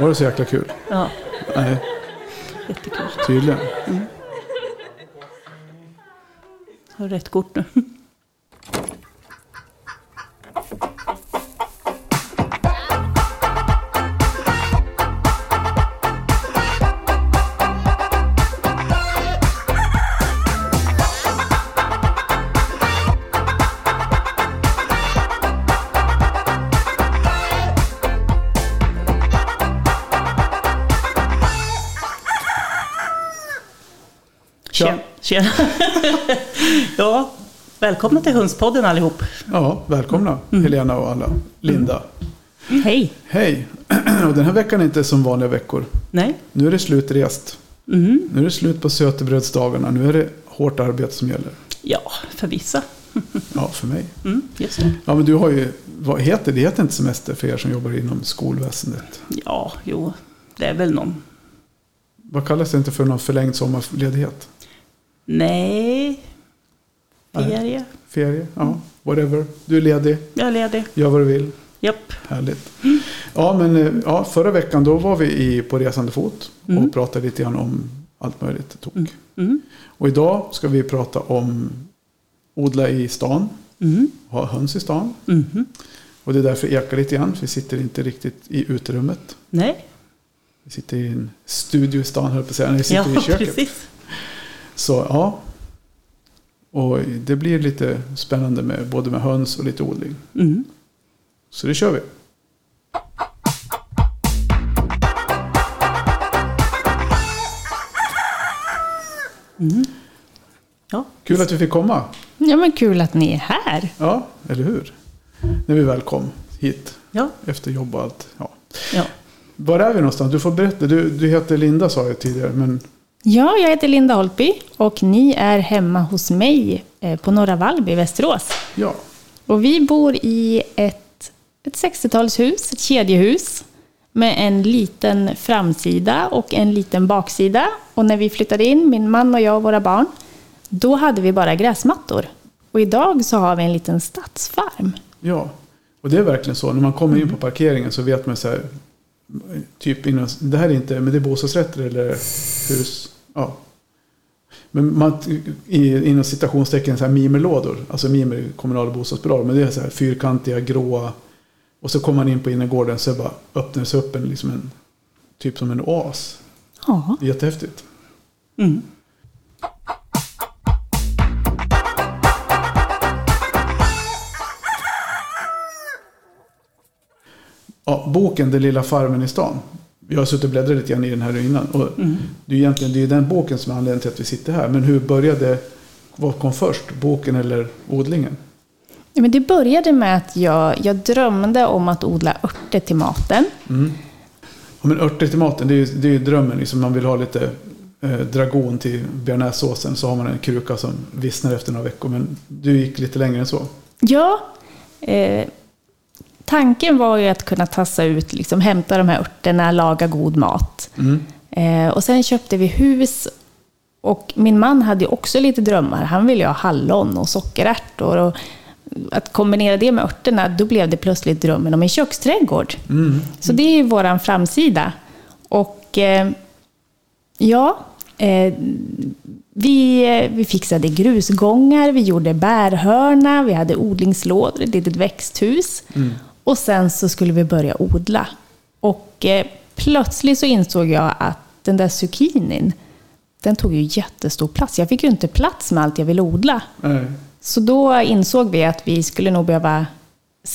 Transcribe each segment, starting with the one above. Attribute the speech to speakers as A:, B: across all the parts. A: Var det så jäkla kul?
B: Ja,
A: Nej,
B: jättekul.
A: tydligen.
B: Har rätt kort nu. Tjena. Tjena. ja, välkomna till Hönspodden allihop.
A: Ja, välkomna Helena och alla. Linda.
B: Hej.
A: Hej! Och den här veckan är inte som vanliga veckor.
B: Nej.
A: Nu är det slutrest.
B: Mm.
A: Nu är det slut på sötebrödsdagarna. Nu är det hårt arbete som gäller.
B: Ja, för vissa.
A: Ja, för mig.
B: Mm, just det.
A: Ja, men du har ju... Vad heter det? Det heter inte semester för er som jobbar inom skolväsendet.
B: Ja, jo, det är väl någon.
A: Vad kallas det inte för någon förlängd sommarledighet?
B: Nej.
A: Nej.
B: Ferie.
A: Ferie? Ja, whatever. Du är ledig.
B: Jag är ledig.
A: Gör vad du vill.
B: Japp.
A: Härligt. Ja, men eh, ja, förra veckan då var vi i, på resande fot och
B: Mm.
A: pratade lite grann om allt möjligt tok.
B: Mm.
A: Och idag ska vi prata om odla i stan,
B: Mm.
A: ha höns i stan.
B: Mhm.
A: Och det är därför det ekar lite grann. för Vi sitter inte riktigt i uterummet.
B: Nej.
A: Vi sitter i en studio i stan, höll jag på att säga. Nej, vi sitter i
B: ja,
A: köket.
B: precis.
A: Så ja. Och det blir lite spännande med både med höns och lite odling.
B: Mm.
A: Så det kör vi.
B: Ja.
A: Kul att vi fick komma.
C: Ja men kul att ni är här.
A: Ja, eller hur? När vi väl kom hit
B: Ja.
A: efter jobb och allt. Ja.
B: ja.
A: Var är vi någonstans? Du får berätta. Du, du heter Linda sa jag tidigare. Men
C: Ja, jag heter Linda Holtby och ni är hemma hos mig eh, på Norra Vallby i Västerås.
A: ja,
C: Och vi bor i ett, ett 60-talshus, ett kedjehus med en liten framsida och en liten baksida. Och när vi flyttade in, min man och jag och våra barn, då hade vi bara gräsmattor. Och idag så har vi en liten stadsfarm.
A: ja. Och det är verkligen så. När man kommer in på parkeringen så vet man så här. Typ innan, det här är inte, men det är bostadsrätter eller hus. Ja. Men man, i, inom citationstecken så här mimerlådor. Alltså mimer är ju kommunala bostadsbolag. Men det är så här fyrkantiga, gråa. Och så kommer man in på innergården så bara öppnar det sig upp en, liksom en, typ som en oas.
C: Ja.
A: Det är jättehäftigt.
B: Mm.
A: Ja, boken Den lilla farmen i stan. Jag har suttit och bläddrat lite grann i den här innan. Och Det är ju egentligen det är den boken som är anledningen till att vi sitter här. Men hur började, vad kom först? Boken eller odlingen?
C: Ja, Men det började med att jag, jag drömde om att odla örter till maten.
A: Ja, men örter till maten, det är ju, det är ju drömmen. Liksom man vill ha lite eh, dragon till bearnaisesåsen så har man en kruka som vissnar efter några veckor. Men du gick lite längre än så.
C: Ja, eh, tanken var ju att kunna tassa ut, liksom, hämta de här örterna, laga god mat. Eh, och sen köpte vi hus och min man hade ju också lite drömmar. Han ville ju ha hallon och sockerärtor. Och att kombinera det med örterna, då blev det plötsligt drömmen om en köksträdgård. Så det är ju vår framsida. Och eh, ja, eh, vi, eh, vi fixade grusgångar, vi gjorde bärhörna, vi hade odlingslådor, ett litet växthus. Och sen så skulle vi börja odla. Och eh, plötsligt så insåg jag att den där zucchinin, den tog ju jättestor plats. Jag fick ju inte plats med allt jag ville odla.
A: Nej.
C: Så då insåg vi att vi skulle nog behöva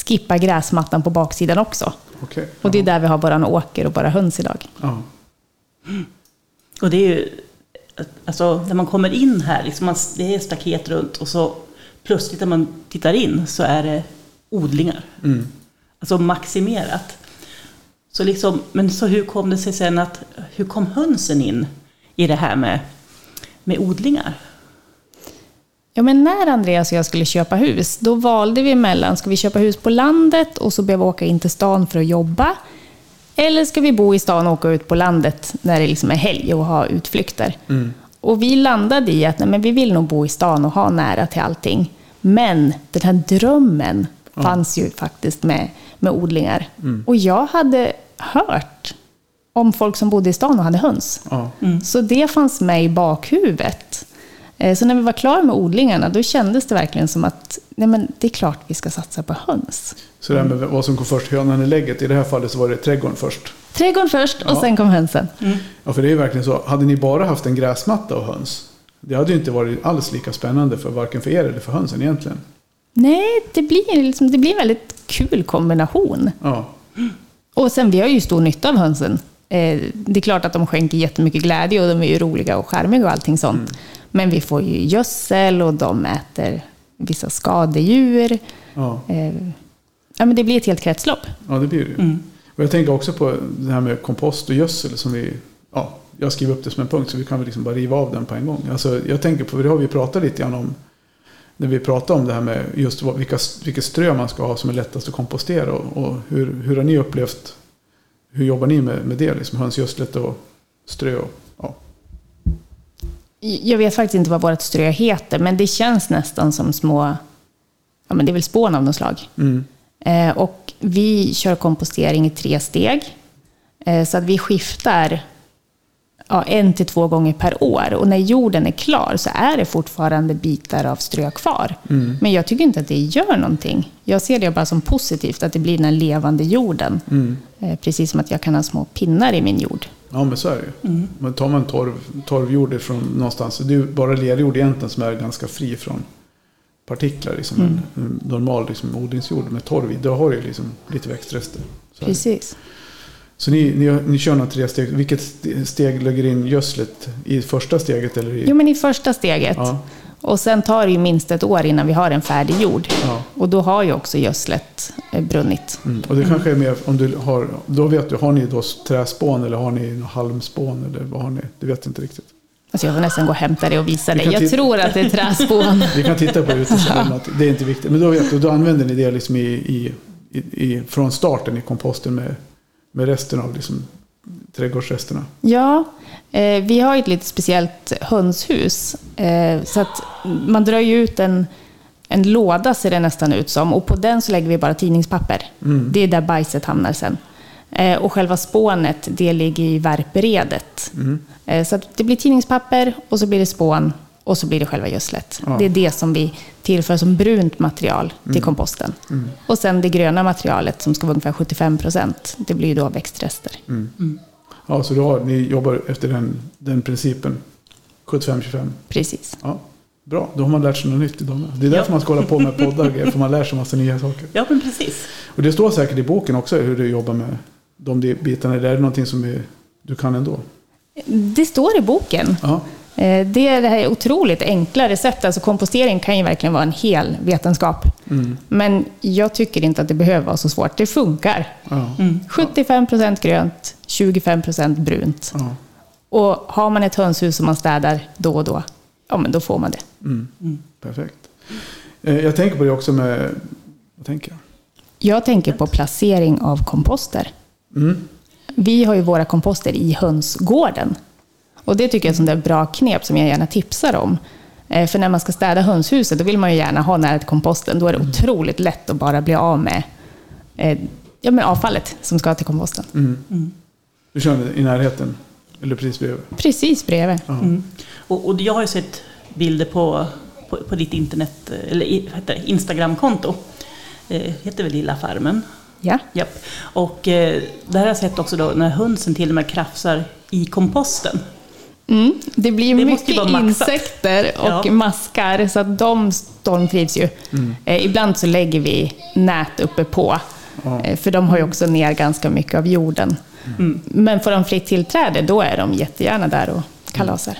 C: skippa gräsmattan på baksidan också.
A: Okej.
C: Och det är där vi har våran åker och bara höns idag.
A: Ja.
B: Och det är ju, alltså när man kommer in här, liksom man, det är staket runt och så plötsligt när man tittar in så är det odlingar. Alltså maximerat. Så liksom, men så hur kom det sig sen att, hur kom hönsen in i det här med, med odlingar?
C: Ja, men när Andreas och jag skulle köpa hus, då valde vi mellan, ska vi köpa hus på landet och så behöva åka in till stan för att jobba? Eller ska vi bo i stan och åka ut på landet när det liksom är helg och ha utflykter? Och vi landade i att nej, men vi vill nog bo i stan och ha nära till allting. Men den här drömmen fanns ju faktiskt med, med odlingar. Och jag hade hört om folk som bodde i stan och hade höns.
A: Ja.
C: Så det fanns med i bakhuvudet. Eh, Så när vi var klara med odlingarna, då kändes det verkligen som att nej men, det är klart vi ska satsa på höns.
A: Så det här med vad som kom först, hönan eller lägget. I det här fallet så var det trädgården först.
C: Trädgården först och
A: Ja.
C: sen kom hönsen.
A: Ja, för det är ju verkligen så. Hade ni bara haft en gräsmatta och höns. Det hade ju inte varit alls lika spännande för varken för er eller för hönsen egentligen.
C: Nej, det blir, liksom, det blir en väldigt kul kombination.
A: Ja,
C: Och sen, vi har ju stor nytta av hönsen. Eh, Det är klart att de skänker jättemycket glädje och de är ju roliga och charmiga och allting sånt. Men vi får ju gödsel och de äter vissa skadedjur.
A: ja,
C: Eh, Ja, men det blir ett helt kretslopp.
A: ja det blir det ju. Och jag tänker också på det här med kompost och gödsel som vi... Ja, jag skriver upp det som en punkt så vi kan väl liksom bara riva av den på en gång. Alltså, jag tänker på, det har vi pratat lite grann om när vi pratade om det här med just vad, vilka, vilket strö man ska ha som är lättast att kompostera och, och hur, hur har ni upplevt, hur jobbar ni med, med det? Liksom hönsgödslet och strö och ja.
C: Jag vet faktiskt inte vad vårt strö heter, men det känns nästan som små... Ja, men det är väl spån av något slag.
A: Mm.
C: Eh, och vi kör kompostering i tre steg. Eh, så att vi skiftar ja, en till två gånger per år. Och när jorden är klar så är det fortfarande bitar av strö kvar.
A: Mm.
C: Men jag tycker inte att det gör någonting. Jag ser det bara som positivt, att det blir den här levande jorden.
A: Mm.
C: Eh, precis som att jag kan ha små pinnar i min jord.
A: Ja men så är det ju.
C: Mm.
A: Men tar man torv, torvjord från någonstans, det är ju bara lerjord egentligen som är ganska fri från partiklar. Liksom,
C: Mm.
A: en, en normal liksom, odlingsjord med torv i, då har du ju liksom lite växtrester. Så, är det.
C: Precis.
A: så ni, ni, ni kör några tre steg. Vilket st- steg lägger in gödslet? I första steget eller i...
C: Jo, men i första steget.
A: Ja.
C: Och sen tar det ju minst ett år innan vi har en färdig jord.
A: Ja.
C: Och då har ju också gödslet eh, brunnit.
A: Mm. Och det kanske är mer om du har, då vet du, har ni då träspån eller har ni någon halmspån eller vad har ni? Det vet jag inte riktigt.
C: Alltså jag får nästan gå och hämta det och visa
A: Vi
C: det.
A: kan typ-
C: Jag
A: titta-
C: tror att det är träspån.
A: Vi kan titta på det utifrån att det är inte viktigt. Men då, vet du, då använder ni det liksom i, i, i, i, från starten i komposten med, med resten av liksom, trädgårdsresterna.
C: Ja, eh, vi har ju ett lite speciellt hönshus. Eh, så att man drar ju ut en, en låda ser det nästan ut som. Och på den så lägger vi bara tidningspapper. Det är där bajset hamnar sen. Eh, och själva spånet, det ligger i värpredet. Eh, så att det blir tidningspapper och så blir det spån och så blir det själva gödslet.
A: Ja.
C: Det är det som vi tillför som brunt material till komposten. Och sen det gröna materialet som ska vara ungefär 75 procent, det blir ju då växtrester.
A: Ja, så då har, ni jobbar efter den, den principen. 75-25.
C: Precis.
A: Ja, bra, då har man lärt sig något nytt idag med. Det är därför man ska hålla på med poddar och grejer, för man lär sig massa nya saker.
B: Ja, men precis.
A: Och det står säkert i boken också hur du jobbar med de bitarna. Det är någonting som är, du kan ändå.
C: Det står i boken.
A: Ja,
C: Eh, Det är det här otroligt enkla receptet. Alltså kompostering kan ju verkligen vara en hel vetenskap.
A: Mm.
C: Men jag tycker inte att det behöver vara så svårt. Det funkar.
A: ja,
C: Mm. 75% grönt, 25% brunt.
A: ja.
C: Och har man ett hönshus som man städar då och då, ja men då får man det.
A: perfekt. Eh, Jag tänker på det också med... Vad tänker jag?
C: Jag tänker på placering av komposter.
A: Mm.
C: Vi har ju våra komposter i hönsgården. Och det tycker jag är ett sånt där bra knep som jag gärna tipsar om. Eh, För när man ska städa hönshuset, då vill man ju gärna ha nära till komposten. Då är det otroligt lätt att bara bli av med eh, ja, men avfallet som ska till komposten.
A: Du kör i närheten? Eller precis bredvid?
C: Precis bredvid.
B: Mm. Och, och jag har ju sett bilder på, på, på ditt internet, eh, eller i- vad heter det, Instagramkonto. Eh, heter väl Lilla Farmen?
C: Ja.
B: Japp. Och eh, där har jag sett också då när hönsen till och med krafsar i komposten.
C: Mm. Det blir
B: Det måste ju
C: mycket
B: vara maxat.
C: insekter och
B: Ja. Mm.
C: maskar, så att de stormtrivs ju. Eh, ibland så lägger vi nät uppe på,
A: Ja.
C: eh, för de har ju också ner ganska mycket av jorden.
B: Mm.
C: Men får de fritt tillträde, då är de jättegärna där
B: Mm.
C: och kalasar.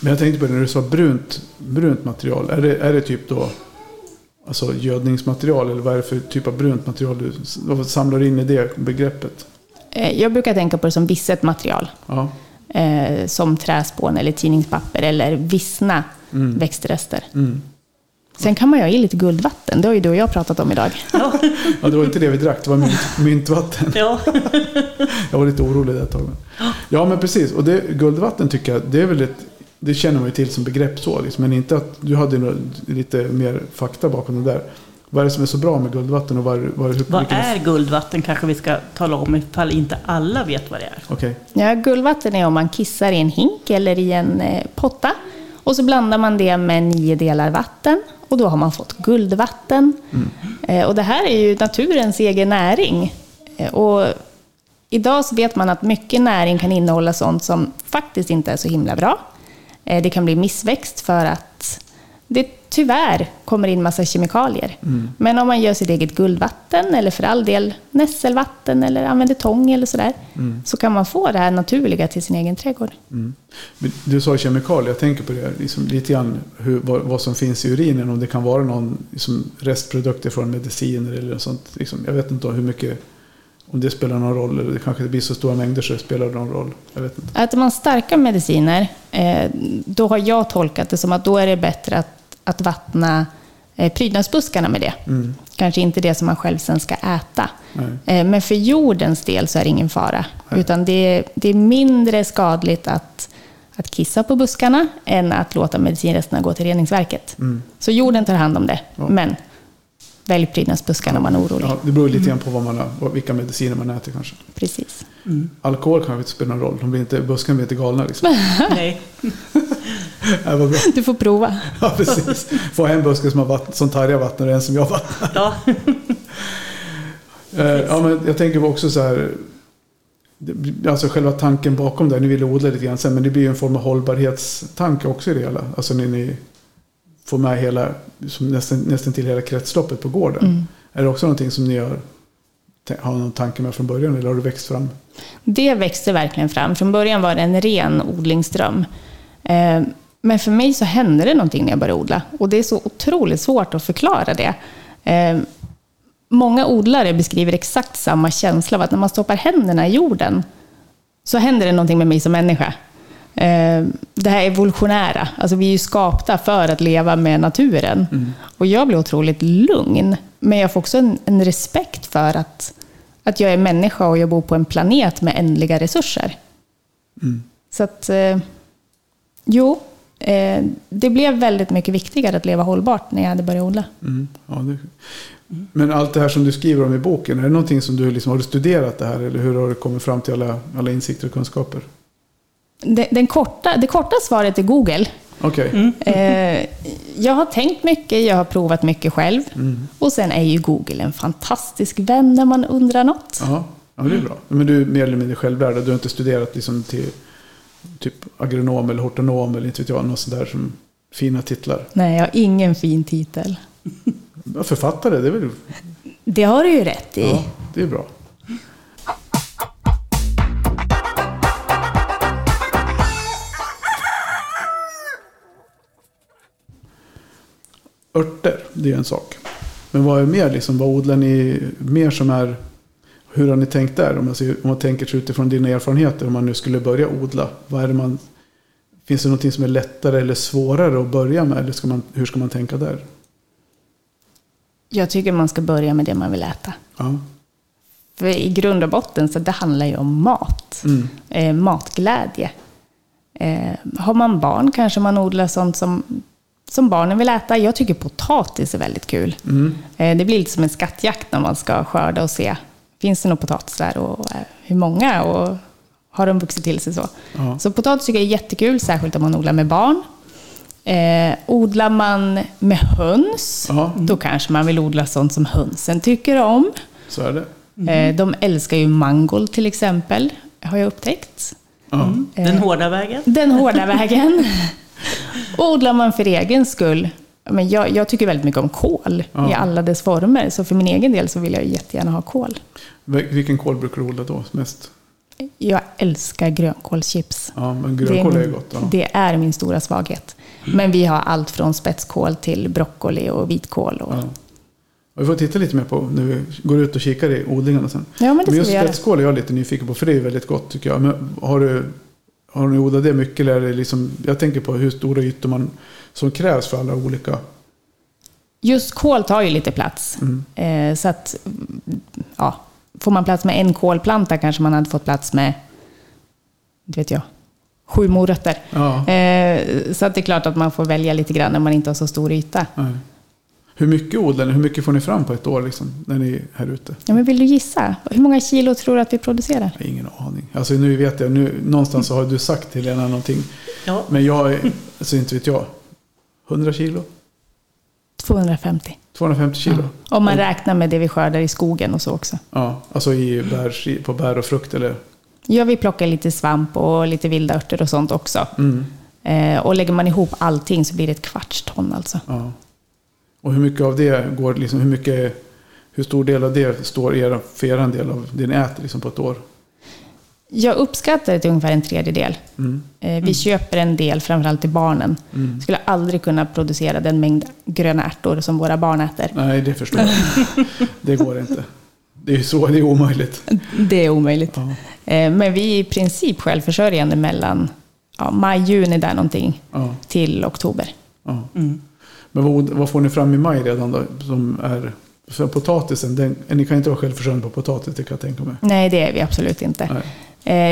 A: Men jag tänkte på det när du sa brunt, brunt material. Är det, är det typ då alltså gödningsmaterial? Eller vad är det för typ av brunt material du s- vad samlar in i det begreppet?
C: Eh, jag brukar tänka på det som visset material,
A: Ja,
C: eh, som träspån eller tidningspapper eller vissna
B: Mm.
C: växtrester. Sen kan man ju ha i lite guldvatten, det har ju du och jag pratat om idag.
B: Ja,
A: ja det var inte det vi drack. Det var mynt, myntvatten.
B: ja.
A: Jag var lite orolig där ett tag. men- Ja, men precis. Och det, guldvatten tycker jag, det är väl ett... Det känner man ju till som begrepp så. Liksom. Men inte att du hade nå- lite mer fakta bakom det där. Vad är det som är så bra med guldvatten? Och var, var, hur,
B: Vad
A: vilken-
B: är guldvatten kanske vi ska tala om ifall inte alla vet vad det är.
A: Okej.
C: Ja, guldvatten är om man kissar i en hink eller i en eh, potta och så blandar man det med nio delar vatten och då har man fått guldvatten. Eh, Och det här är ju naturens egen näring. Eh, Och idag så vet man att mycket näring kan innehålla sånt som faktiskt inte är så himla bra. Eh, Det kan bli missväxt för att det tyvärr kommer in massa kemikalier. Men om man gör sitt eget guldvatten eller för all del nässelvatten eller använder tång eller sådär så kan man få det här naturliga till sin egen trädgård.
A: Mm. Men Du sa ju kemikalier, jag tänker på det liksom lite grann hur, vad, vad som finns i urinen. Om det kan vara någon liksom, restprodukter från mediciner eller något sånt. Liksom, jag vet inte hur mycket, om det spelar någon roll. Eller det kanske inte blir så stora mängder så det spelar någon roll. Jag vet inte.
C: Äter man starka mediciner, eh, då har jag tolkat det som att då är det bättre att, att vattna eh, prydnadsbuskarna med det. Kanske inte det som man själv sen ska äta.
A: Mm. Nej.
C: Eh, Men för jordens del så är det ingen fara. Utan det, är- det är mindre skadligt att, att kissa på buskarna än att låta medicinresterna gå till reningsverket.
A: Mm.
C: Så jorden tar hand om det. Men välj prydnadsbuskarna om man är orolig.
A: Ja, det beror lite grann på vad man har, vad- vilka mediciner man äter kanske.
C: Precis.
B: Mm.
A: Alkohol kanske inte spelar någon roll. De blir inte, busken blir inte galna liksom.
B: Nej.
A: Nej, vad bra.
C: Du får prova.
A: Ja, precis. Få en buske som, har vatten, som targar vatten och en som jag vattnar.
B: Ja.
A: Eh, Ja, men jag tänker också så här. det- Alltså själva tanken bakom det. Ni ville odla lite grann sen. Men det blir ju en form av hållbarhetstanke också i det hela. Alltså när ni får med hela, som nästan, nästan till hela kretsloppet på gården.
C: Mm.
A: Är det också någonting som ni har, har någon tanke med från början? Eller har det växt fram?
C: Det växte verkligen fram. Från början var det en ren odlingsdröm. Eh, Men för mig så hände det någonting när jag började odla. Och det är så otroligt svårt att förklara det. Eh, Många odlare beskriver exakt samma känsla av att när man stoppar händerna i jorden så händer det någonting med mig som människa. Eh, Det här evolutionära, alltså vi är ju skapta för att leva med naturen. Och jag blir otroligt lugn, men jag får också en, en respekt för att, att jag är människa och jag bor på en planet med ändliga resurser. Så att, eh, jo, eh, det blev väldigt mycket viktigare att leva hållbart när jag hade börjat odla.
A: Mm, ja, det. Men allt det här som du skriver om i boken, är det någonting som du liksom, har du studerat det här? Eller hur har du kommit fram till alla, alla insikter och kunskaper?
C: Den, den korta, det korta svaret är Google.
A: Okej,
C: Eh, jag har tänkt mycket, jag har provat mycket själv.
A: Mm.
C: Och sen är ju Google en fantastisk vän när man undrar något.
A: ja, ja, det är bra. Men du är mer eller mindre självlärd och du har inte studerat liksom till typ agronom eller hortonom eller inte vet jag, något sånt där som fina titlar.
C: Nej, jag har ingen fin titel.
A: Ja, Författare, det är väl
C: Det har du ju rätt i.
A: ja, det är bra. Örter, det är en sak. Men vad är mer liksom? Vad odlar ni mer som är... Hur har ni tänkt där? Om man, ser, om man tänker sig utifrån dina erfarenheter, om man nu skulle börja odla. Vad är det man, finns det någonting som är lättare eller svårare att börja med? Eller ska man, hur ska man tänka där?
C: Jag tycker man ska börja med det man vill äta.
A: Ja.
C: För i grund och botten så det handlar ju om mat.
A: Mm.
C: Eh, matglädje. Eh, har man barn kanske man odlar sånt som, som barnen vill äta. Jag tycker potatis är väldigt kul.
A: Mm.
C: Eh, det blir lite som en skattjakt när man ska skörda och se. Finns det några potatisar och eh, hur många? Och har de vuxit till sig så?
A: Ja.
C: Så potatis tycker jag är jättekul, särskilt om man odlar med barn. Eh, odlar man med höns,
A: Ja.
C: då kanske man vill odla sånt som hönsen tycker om.
A: Så är det.
C: Eh, De älskar ju mangold till exempel, har jag upptäckt.
A: Ja.
B: Den hårda vägen.
C: Den hårda vägen. Och odlar man för egen skull. ja, Men jag, jag tycker väldigt mycket om kål
A: Ja.
C: i alla dess former, så för min egen del så vill jag ju jättegärna ha kål.
A: Vil- Vilken kål brukar du odla då mest?
C: Jag älskar grönkålschips.
A: Ja, men grönkål är,
C: min,
A: ju gott. Ja.
C: det är min stora svaghet. Men vi har allt från spetskål till broccoli och vitkål. Och,
A: Ja. Och vi får titta lite mer på när vi går ut och kikar i odlingarna sen.
C: Ja, men det ska
A: just
C: vi göra.
A: spetskål är jag lite nyfiken på, för det är väldigt gott tycker jag. Men har, du, har ni odlat det mycket? Eller är det liksom, jag tänker på hur stora ytor man, som krävs för alla olika.
C: Just kål tar ju lite plats. Eh, så att, mm, ja, får man plats med en kålplanta kanske man hade fått plats med, inte vet jag, sju morötter.
A: Ja.
C: Eh, så att det är klart att man får välja lite grann när man inte har så stor yta.
A: Nej. Hur mycket odlar ni? Hur mycket får ni fram på ett år liksom, när ni är här ute?
C: Ja, men vill du gissa? Hur många kilo tror du att vi producerar?
A: Jag har ingen aning. Alltså nu vet jag, nu, någonstans så har du sagt till Helena någonting.
B: Ja.
A: Men jag, är- alltså inte vet jag. 100 kilo?
C: 250.
A: 250 kilo? Ja,
C: Om man räknar med det vi skördar i skogen och så också.
A: alltså i bär, på bär och frukt eller?
C: Ja, vi plockar lite svamp och lite vilda örter och sånt också.
A: Mm,
C: Eh, och lägger man ihop allting så blir det ett kvarts ton alltså.
A: ja. Och hur mycket av det går, liksom, hur, mycket, hur stor del av det står er, för er del av det ni äter liksom, på ett år?
C: Jag uppskattar det till ungefär en tredjedel.
A: Mm.
C: Eh, vi köper en del, framförallt till barnen. Skulle aldrig kunna producera den mängd gröna ärtor som våra barn äter.
A: Nej, det förstår jag. Det går inte. Det är ju så, det är omöjligt.
C: Det är omöjligt.
A: Ja.
C: Eh, men vi är i princip självförsörjande mellan ja, maj, juni där någonting,
A: Ja,
C: till oktober.
A: ja.
B: Mm.
A: Men vad, vad får ni fram i maj redan då? Som är, för potatisen, den, ni kan inte vara självförsörjande på potatis, det kan jag tänka mig.
C: Nej, det är vi absolut inte.
A: Nej.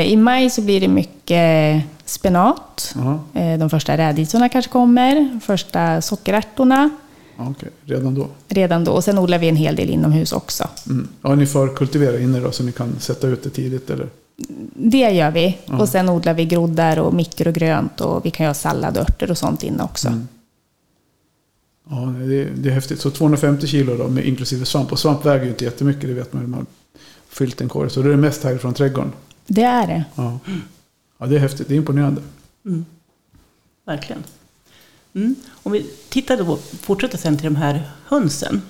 C: Eh, I maj så blir det mycket spenat.
A: Ja,
C: Eh, De första rädisorna kanske kommer, första sockerärtorna
A: ja, okej. Redan då.
C: redan då. Och sen odlar vi en hel del inomhus också.
A: Mm. Ja, ni förkultiverar inne då så ni kan sätta ut det tidigt eller?
C: Det gör vi. Och sen odlar vi groddar och mikrogrönt och vi kan göra sallad och örter och sånt inne också.
A: Ja, det, det är häftigt. Så 250 kilo då, med inklusive svamp. Och svamp väger ju inte jättemycket, det vet man när man har fyllt en korg. Så det är det mest härifrån trädgården.
C: Det är det.
A: Ja. ja, det är häftigt. Det är imponerande.
B: Verkligen. Mm. Om vi tittar då, fortsätter sen till de här hönsen.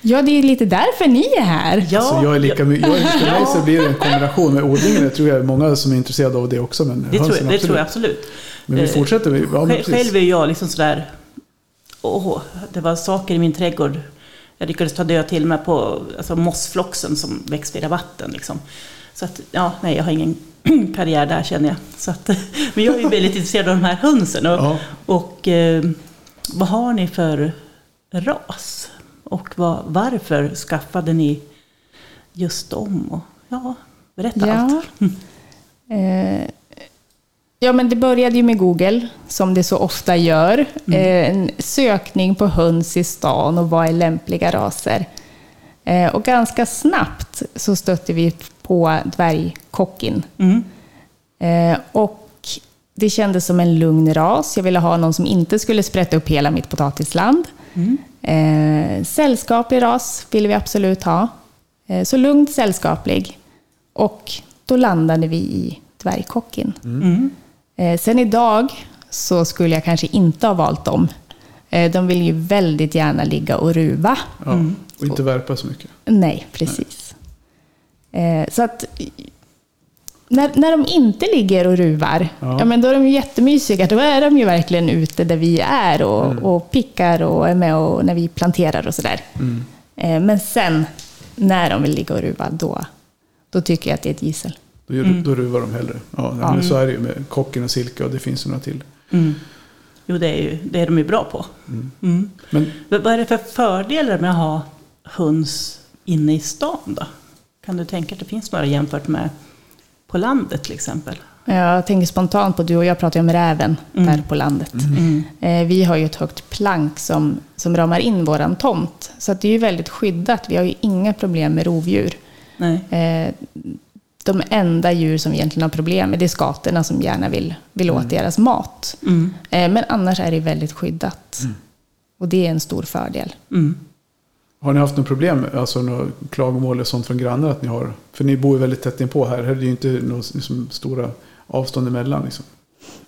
C: Ja, det är lite därför ni är här.
B: Ja,
A: Så jag är lika my- jag, är- för mig så blir det en kombination med odlingen. Det tror jag är många som är intresserade av det också. Men
B: det, tror
A: hönsen,
B: jag, det tror jag
A: absolut.
B: absolut.
A: Men vi
B: Eh,
A: fortsätter. med- Ja, men
B: Sj-
A: precis.
B: Själv är jag liksom sådär, åh, det var saker i min trädgård. Jag lyckades ta död till mig på alltså, mossfloxen som växte i rabatten. Liksom. Så att, ja, nej, jag har ingen karriär där känner jag. Så att, men jag är ju väldigt intresserad av de här hönsen. Och,
A: Ja.
B: och eh, vad har ni för ras? Och vad, varför skaffade ni just dem? Och, ja, berätta
C: Ja.
B: allt.
C: Eh, ja, men det började ju med Google, som det så ofta gör. Eh, en sökning på höns i stan och vad är lämpliga raser? Eh, och ganska snabbt så stötte vi på dvärgkocken.
B: Mm.
C: Eh, och det kändes som en lugn ras. Jag ville ha någon som inte skulle sprätta upp hela mitt potatisland. Eh, sällskaplig ras ville vi absolut ha. Eh, så lugnt sällskaplig. Och då landade vi i dvärgkocken.
B: Mm.
C: Eh, sen idag så skulle jag kanske inte ha valt dem. Eh, de vill ju väldigt gärna ligga och ruva.
A: Ja,
B: Mm.
A: Och inte värpa så mycket.
C: Nej, precis. Eh, så att när, när de inte ligger och ruvar,
A: Ja.
C: ja. men då är de ju jättemysiga. Då är de ju verkligen ute där vi är och, och pickar och är med och när vi planterar och sådär. Eh, men sen när de vill ligga och ruva, då, då tycker jag att det är ett gissel.
A: Då, gör,
B: Mm.
A: då ruvar de hellre. Ja, nej, men så är det ju med kocken och silke och det finns ju några till.
B: Mm. Jo, det är, ju, det är de ju bra på. Mm.
A: Men
B: Men Vad är det för fördelar med att ha höns inne i stan då? Kan du tänka att det finns några jämfört med på landet till exempel?
C: Jag tänker spontant på, du och jag pratade ju om räven där på landet.
B: Mm.
A: Mm.
C: Eh, Vi har ju ett högt plank som, som ramar in våran tomt. Så att det är ju väldigt skyddat. Vi har ju inga problem med rovdjur.
B: Nej.
C: Eh, De enda djur som egentligen har problem med det är skatorna som gärna vill, vill åt deras mat.
B: Mm.
C: Eh, Men annars är det väldigt skyddat. Och det är en stor fördel.
B: Mm.
A: har ni haft något problem, alltså några klagomål eller sånt från grannar att ni har? För ni bor ju väldigt tätt inpå här. Här är det ju inte några liksom, stora avstånd emellan. Liksom.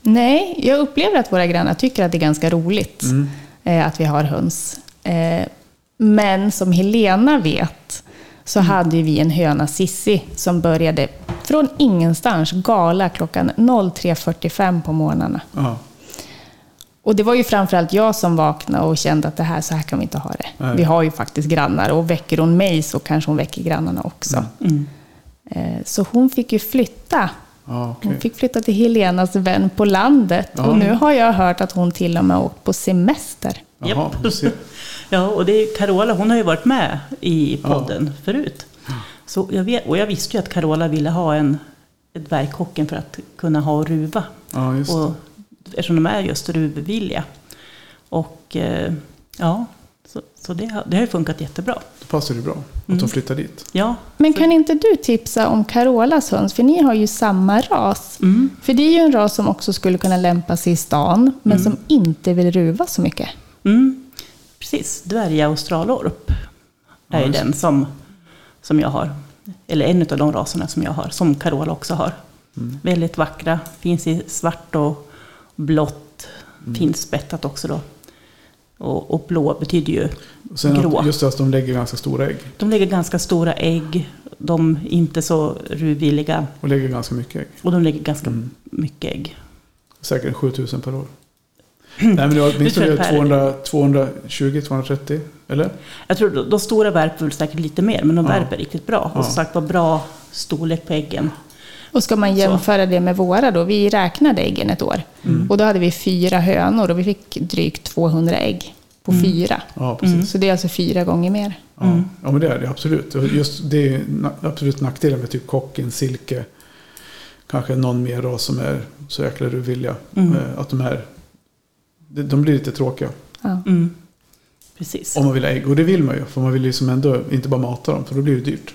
C: Nej, jag upplever att våra grannar tycker att det är ganska roligt
A: Mm.
C: eh, att vi har höns. Eh, Men som Helena vet så hade ju vi en höna Sissi som började från ingenstans gala klockan 03.45 på morgnarna.
A: Ja,
C: Och det var ju framförallt jag som vaknade och kände att det här, så här kan vi inte ha det.
A: Nej.
C: Vi har ju faktiskt grannar och väcker hon mig så kanske hon väcker grannarna också.
B: Mm.
C: Eh, Så hon fick ju flytta.
A: ja okej.
C: Hon fick flytta till Helenas vän på landet.
A: Ja.
C: Och nu har jag hört att hon till och med har åkt på semester.
A: Jaha,
B: Japp.
A: du ser.
B: Ja, och det är Carola, hon har ju varit med i podden förut. Så jag vet, och jag visste ju att Carola ville ha en ett dvärgkocken för att kunna ha och ruva.
A: Ja, just det.
B: Och, eftersom de är just ruvvilliga. Och eh, ja, Så, så det, har- det har ju funkat jättebra.
A: Då passar det ju bra att de flyttar dit.
B: Ja,
C: Men kan inte du tipsa om Carolas höns? För ni har ju samma ras.
B: Mm.
C: För det är ju en ras som också skulle kunna lämpa sig i stan, men
A: Mm.
C: som inte vill ruva så mycket.
B: mm, precis. Dvärga australorp är ju
A: just
B: den som, som jag har. Eller en av de raserna som jag har, som Carola också har.
A: Mm.
B: Väldigt vackra, finns i svart och blått,
A: Mm.
B: finspettat också då. Och, och blå betyder ju
A: Och sen
B: grå.
A: att, just det att de lägger ganska stora ägg.
B: De lägger ganska stora ägg, de är inte så ruvvilliga
A: Och lägger ganska mycket ägg.
B: och de lägger ganska
A: Mm.
B: mycket ägg.
A: Säkert 7000 per år. Nej men det var åtminstone
B: tror per-
A: 220-230, eller?
B: Jag tror de, de stora värper väl säkert lite mer, men de
A: Ja.
B: värper riktigt bra.
A: Ja.
B: Och som sagt var bra storlek på äggen.
C: Och ska man jämföra det med våra då, vi räknade äggen ett år.
B: Mm.
C: Och då hade vi fyra hönor och vi fick drygt 200 ägg på
B: Mm.
C: fyra.
A: Ja, precis.
C: Så det är alltså fyra gånger mer.
A: Ja. ja, men det är det absolut. Och Just det är ju na- absolut nackdelen med typ kocken, silke, kanske någon mer ras som är så jäkla ruvilliga. Eh, Att de här, de de blir lite tråkiga.
C: Ja.
B: Mm. Precis.
A: Om man vill ha ägg, och det vill man ju. För man vill ju som ändå inte bara mata dem, för då blir det dyrt.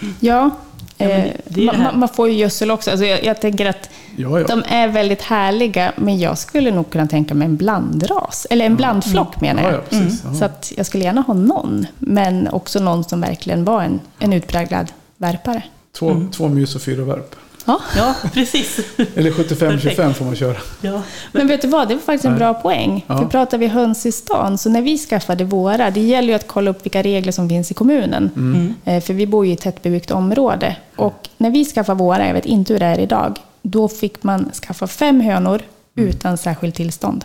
C: Ja,
B: Ja, men
C: eh,
B: det- det är ju
C: man-
B: det här.
C: man, man får ju gödsel också. Alltså jag, jag tänker att
A: Ja, ja.
C: de är väldigt härliga, men jag skulle nog kunna tänka mig en blandras. Eller
B: Mm.
C: en blandflock menar
A: ja,
C: jag. Mm.
A: ja precis.
C: Så
A: Ja.
C: att jag skulle gärna ha någon, men också någon som verkligen var en, en utpräglad värpare.
A: Två, två mus och fyra värp.
C: Ja.
B: Ja, precis.
A: Eller 75-25 får man köra.
B: ja.
C: Men vet du vad, det var faktiskt en
A: Nej.
C: bra poäng.
A: Ja.
C: För pratar vi höns i stan, så när vi skaffade våra, det gäller ju att kolla upp vilka regler som finns i kommunen.
A: Mm.
C: Eh, För vi bor ju i ett tättbebyggt område. Och när vi skaffade våra, jag vet inte hur det är idag, då fick man skaffa fem hönor
A: Mm.
C: utan särskilt tillstånd.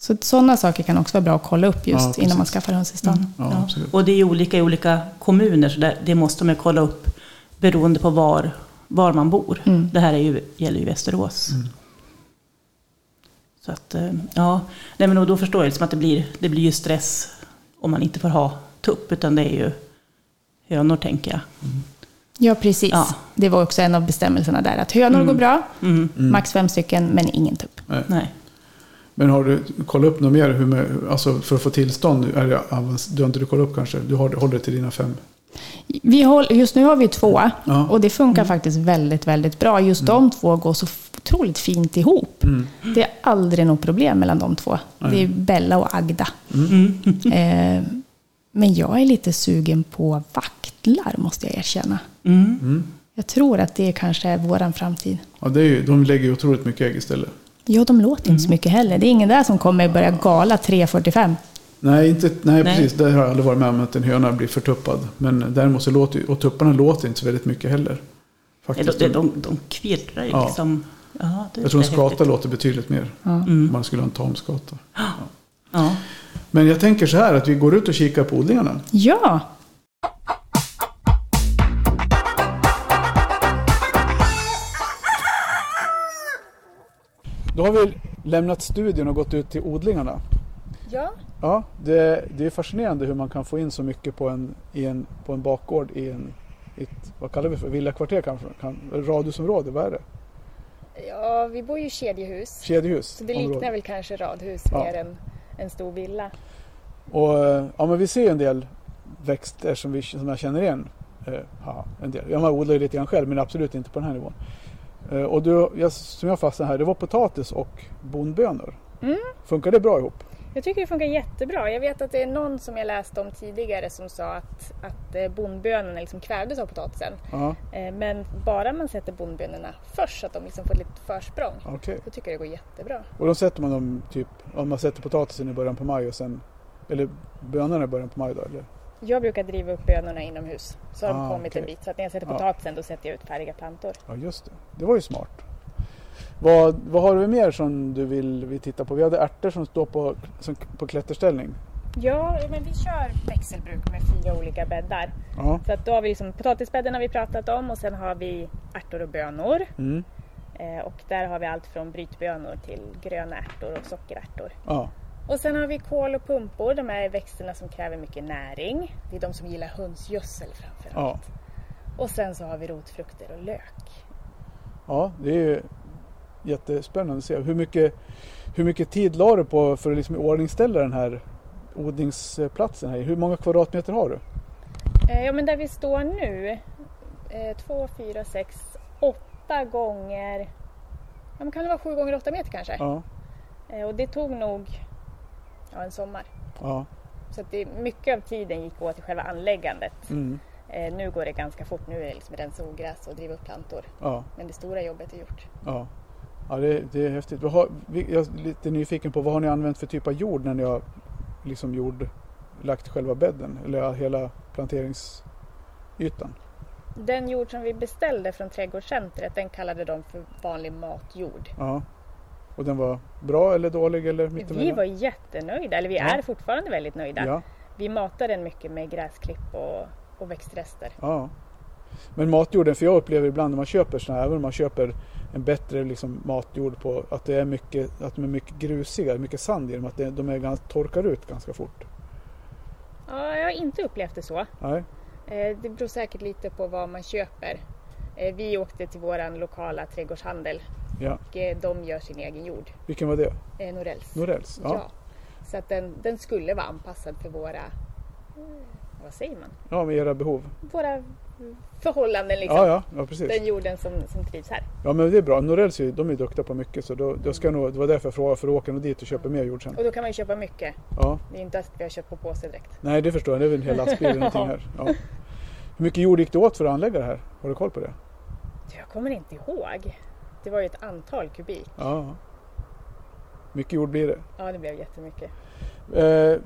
C: Så sådana saker kan också vara bra att kolla upp
A: Ja,
C: just
A: precis. Mm.
C: innan man skaffar höns i stan.
A: Ja,
B: Ja.
A: absolut.
B: Och det är ju olika i olika kommuner, så där, det måste man ju kolla upp beroende på var, var man bor. Det här är ju, gäller ju Västerås.
A: Mm.
B: Så att, eh, ja, nej men och då förstår jag liksom att det blir, det blir ju stress om man inte får ha tupp, utan det är ju hönor tänker jag.
C: Ja, precis.
B: Ja.
C: Det var också en av bestämmelserna där, att hönor
A: Mm.
C: går bra, max fem stycken, men ingen tupp.
A: Nej.
B: Mm. Nej.
A: Men har du kollat upp något mer? Hur med, alltså för att få tillstånd? Är det, avans- du har inte du kollat upp kanske? Du har, håller till dina fem?
C: Vi håller, just nu har vi två
A: Ja.
C: och det funkar faktiskt väldigt, väldigt bra. Just de två går så f- otroligt fint ihop. Det är aldrig något problem mellan de två. Det är Bella och Agda.
A: Mm.
B: Mm.
C: Eh, men jag är lite sugen på vaktlar, måste jag erkänna.
A: Mm.
C: Jag tror att det kanske är vår framtid.
A: Ja, det är ju, de lägger ju otroligt mycket ägg istället.
C: Ja, de låter inte så mycket heller. Det är ingen där som kommer börja gala 3.45.
A: Nej, inte, nej,
B: Nej.
A: precis. Det har jag aldrig varit med om att en höna blir förtuppad. Men däremot så låter ju- och tupparna låter inte så väldigt mycket heller.
B: Nej,
A: Faktiskt.
B: De, de, de, de kvirrar ju
A: Ja.
B: liksom. Ja, det
A: jag tror en
B: är häftigt.
A: skata låter betydligt mer.
B: Mm.
A: Om man skulle ha en tamskata.
B: Ja.
A: Men jag tänker så här att vi går ut och kikar på odlingarna.
C: Ja,
A: Då har vi lämnat studion och gått ut till odlingarna.
C: Ja.
A: Ja, det, det är fascinerande hur man kan få in så mycket på en, i en, på en bakgård i en, i ett, vad kallar vi för, villakvarter kanske? Kan, radhusområde, vad är det?
D: Ja, vi bor ju i kedjehus.
A: Kedjehus?
D: Så det
A: område.
D: liknar väl kanske radhus
A: Ja.
D: mer än en stor villa.
A: Och eh, ja, men vi ser en del växter som, vi, som jag känner igen. Eh, haha, en del. Jag odlar ju lite grann själv men absolut inte på den här nivån. Eh, och du, jag, som jag fastnade här, det var potatis och bondbönor. Funkar det bra ihop?
D: Jag tycker det funkar jättebra. Jag vet att det är någon som jag läste om tidigare som sa att, att eh, bondbönorna liksom kvävdes av potatisen.
A: Ja,
D: Eh, Men bara man sätter bondbönorna först så att de liksom får lite försprång.
A: okej.
D: Då tycker jag det går jättebra.
A: Och då sätter man dem typ, om man sätter potatisen i början på maj och sen, eller bönorna i början på maj då eller?
D: Jag brukar driva upp bönorna inomhus så har
A: Ah,
D: de kommit en
A: okej.
D: bit. Så att när jag sätter
A: Ja.
D: potatisen då sätter jag ut färdiga plantor.
A: Ja just det, det var ju smart. Vad, vad har vi mer som du vill vi titta på? Vi hade ärtor som står på, som, på klätterställning.
D: Ja, men vi kör växelbruk med fyra olika bäddar.
A: Ja.
D: Så att då har vi liksom potatisbädden har vi pratat om och sen har vi ärtor och bönor.
A: Mm.
D: Eh, och där har vi allt från brytbönor till gröna ärtor och sockerärtor.
A: ja.
D: Och sen har vi kål och pumpor, de här växterna som kräver mycket näring. Det är de som gillar hönsgödsel framför
A: ja.
D: allt. Och sen så har vi rotfrukter och lök.
A: Ja, det är ju jättespännande att se. Hur mycket, hur mycket tid la du på för att liksom iordningställa den här odlingsplatsen här Hur många kvadratmeter har du?
D: Eh, Ja, men där vi står nu, eh, två, fyra, sex, åtta gånger, ja, men kan det vara sju gånger åtta meter kanske?
A: Ja.
D: Eh, Och det tog nog ja, en sommar.
A: ja.
D: Så att det, mycket av tiden gick åt till själva anläggandet.
A: Mm.
D: Eh, nu går det ganska fort. Nu är det liksom rensa ogräs och driva upp plantor.
A: ja.
D: Men det stora jobbet är gjort.
A: Ja, ja det, det är häftigt. Vad har, vi- jag är lite nyfiken på vad har ni använt för typ av jord när ni har liksom jord, lagt själva bädden eller hela planteringsytan?
D: Den jord som vi beställde från trädgårdscentret den kallade de för vanlig matjord.
A: Ja. Och den var bra eller dålig eller mittemellan?
D: Vi var jättenöjda, eller vi
A: Ja.
D: är fortfarande väldigt nöjda.
A: ja,
D: Vi matar den mycket med gräsklipp och, och växtrester.
A: ja. Men matjorden, för jag upplever ibland när man köper sådana här, även om man köper en bättre liksom matjord på att det är mycket, att de är mycket grusiga, mycket sand i dem, att det, de är ganska, torkar ut ganska fort.
D: Ja, jag har inte upplevt det så.
A: Nej,
D: Eh, Det beror säkert lite på vad man köper. Eh, Vi åkte till vår lokala trädgårdshandel
A: ja.
D: och eh, de gör sin egen jord,
A: Vilken var det?
D: eh, Norells.
A: Norells?
D: Ja. Så att den, den skulle vara anpassad för våra, eh, vad säger man,
A: ja, med era behov.
D: våra mm, förhållanden liksom.
A: Ja, ja, ja precis.
D: Den jorden som, som trivs här.
A: Ja men det är bra. Norells är ju- de är duktiga på mycket så då, då ska jag nog, det var därför jag frågade för att åka nog dit och köpa mer jord sen.
D: Och då kan man ju köpa mycket.
A: Ja.
D: Det är inte att vi har köpt på påse direkt.
A: Nej det förstår jag, det är väl en hel lastbil eller någonting här. Ja. Hur mycket jord gick det åt för att anlägga det här? Har du koll på det?
D: Du, Jag kommer inte ihåg. Det var ju ett antal kubik.
A: Ja. Mycket jord blir det.
D: Ja, det blev jättemycket.
A: Eh,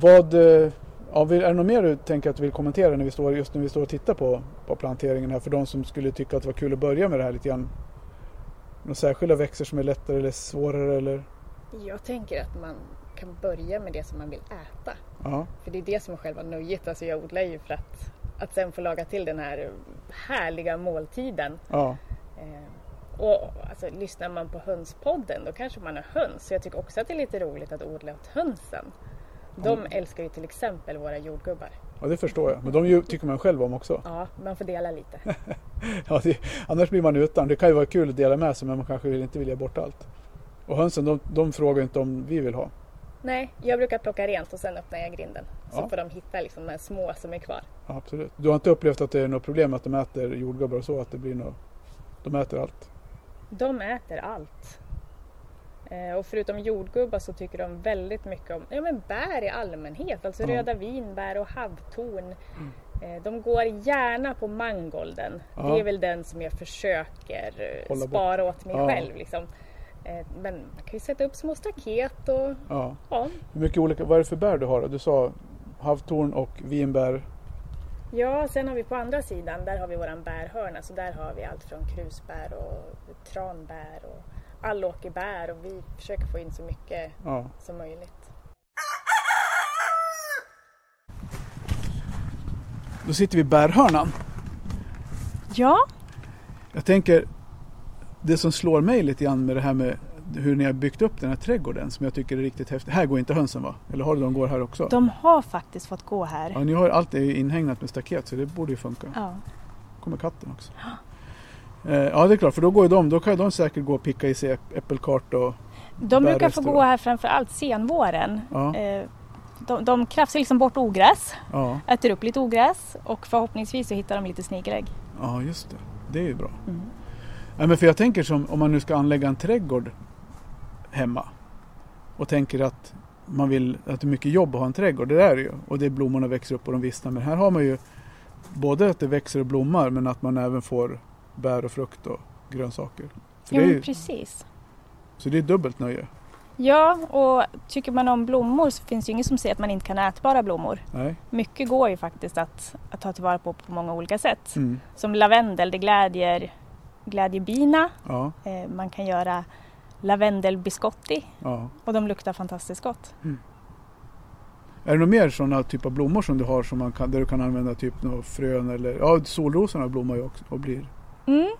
A: vad, eh, ja, vill, är det något mer du tänker att du vill kommentera när vi står, just när vi står och tittar på, på planteringen här för de som skulle tycka att det var kul att börja med det här lite grann? Några särskilda växter som är lättare eller svårare eller?
D: Jag tänker att man kan börja med det som man vill äta.
A: Ja,
D: För det är det som är själva nöjet. Alltså jag odlar ju för att, att sen få laga till den här härliga måltiden.
A: ja,
D: Eh, och alltså, lyssnar man på hönspodden då kanske man har höns. Så jag tycker också att det är lite roligt att odla åt hönsen. De älskar ju till exempel våra jordgubbar.
A: ja det förstår jag. Men de ju- tycker man själv om också.
D: Ja, man får dela lite.
A: Ja, det, annars blir man utan. Det kan ju vara kul att dela med sig men man kanske vill inte vill ge bort allt. Och hönsen de, de frågar inte om vi vill ha.
D: Nej, jag brukar plocka rent och sen öppnar jag grinden. Så
A: Ja.
D: får de hitta liksom de här små som är kvar.
A: Ja, absolut. Du har inte upplevt att det är något problem att de äter jordgubbar och så? Att det blir något, de äter allt?
D: De äter allt. Eh, och förutom jordgubbar så tycker de väldigt mycket om ja, men bär i allmänhet. Alltså
A: Ja. Mm.
D: röda vinbär och havtorn. Eh, de går gärna på mangolden.
A: Ja.
D: Det är väl den som jag försöker eh,
A: Hålla bort.
D: spara åt mig
A: Ja.
D: själv. Liksom. Eh, men man kan ju sätta upp små staket och
A: Ja.
D: ja.
A: Hur mycket olika, vad är det för bär du har? då? Du sa havtorn och vinbär.
D: Ja, sen har vi på andra sidan, där har vi våran bärhörna. Så där har vi allt från krusbär och tranbär och allåkerbär. Och vi försöker få in så mycket
A: Ja.
D: som möjligt.
A: Då sitter vi i bärhörnan.
C: Ja,
A: Jag tänker, det som slår mig lite grann med det här med hur ni har byggt upp den här trädgården som jag tycker är riktigt häftigt. Här går inte hönsen va? Eller har du de går här också?
C: de har faktiskt fått gå här.
A: Ja, ni har allt är ju inhägnat med staket så det borde ju funka.
C: Ja.
A: kommer katten också. Eh, Ja det är klart, för då går ju de, då kan ju de säkert gå och picka i sig äpp- äppelkart och
C: De brukar få
A: Bärrester då.
C: gå här framför allt senvåren.
A: ja,
C: Eh, De, de krafsar liksom bort ogräs,
A: ja,
C: äter upp lite ogräs och förhoppningsvis så hittar de lite snigerägg.
A: ja just det. Det är ju bra.
B: Mm.
A: Ja, men för jag tänker som om man nu ska anlägga en trädgård hemma och tänker att man vill att det är mycket jobb att ha en trädgård, det där är det ju. Och det är blommorna växer upp och de vissnar. Men här har man ju både att det växer och blommar men att man även får bär och frukt och grönsaker. För det
C: Ja,
A: är
C: men
A: ju,
C: precis.
A: så det är dubbelt nöje.
C: Ja, och tycker man om blommor så finns ju inget som säger att man inte kan ha ätbara blommor.
A: Nej.
C: Mycket går ju faktiskt att, att ta tillvara på på många olika sätt.
A: Mm.
C: Som lavendel, det glädjer, glädjer bina.
A: Ja,
C: Eh, man kan göra lavendelbiscotti
A: ja.
C: och de luktar fantastiskt gott.
A: Är det några mer sådana typ av blommor som du har som man kan, där du kan använda typ några frön eller ja, solrosorna blommar ju också och blir.
C: Mm.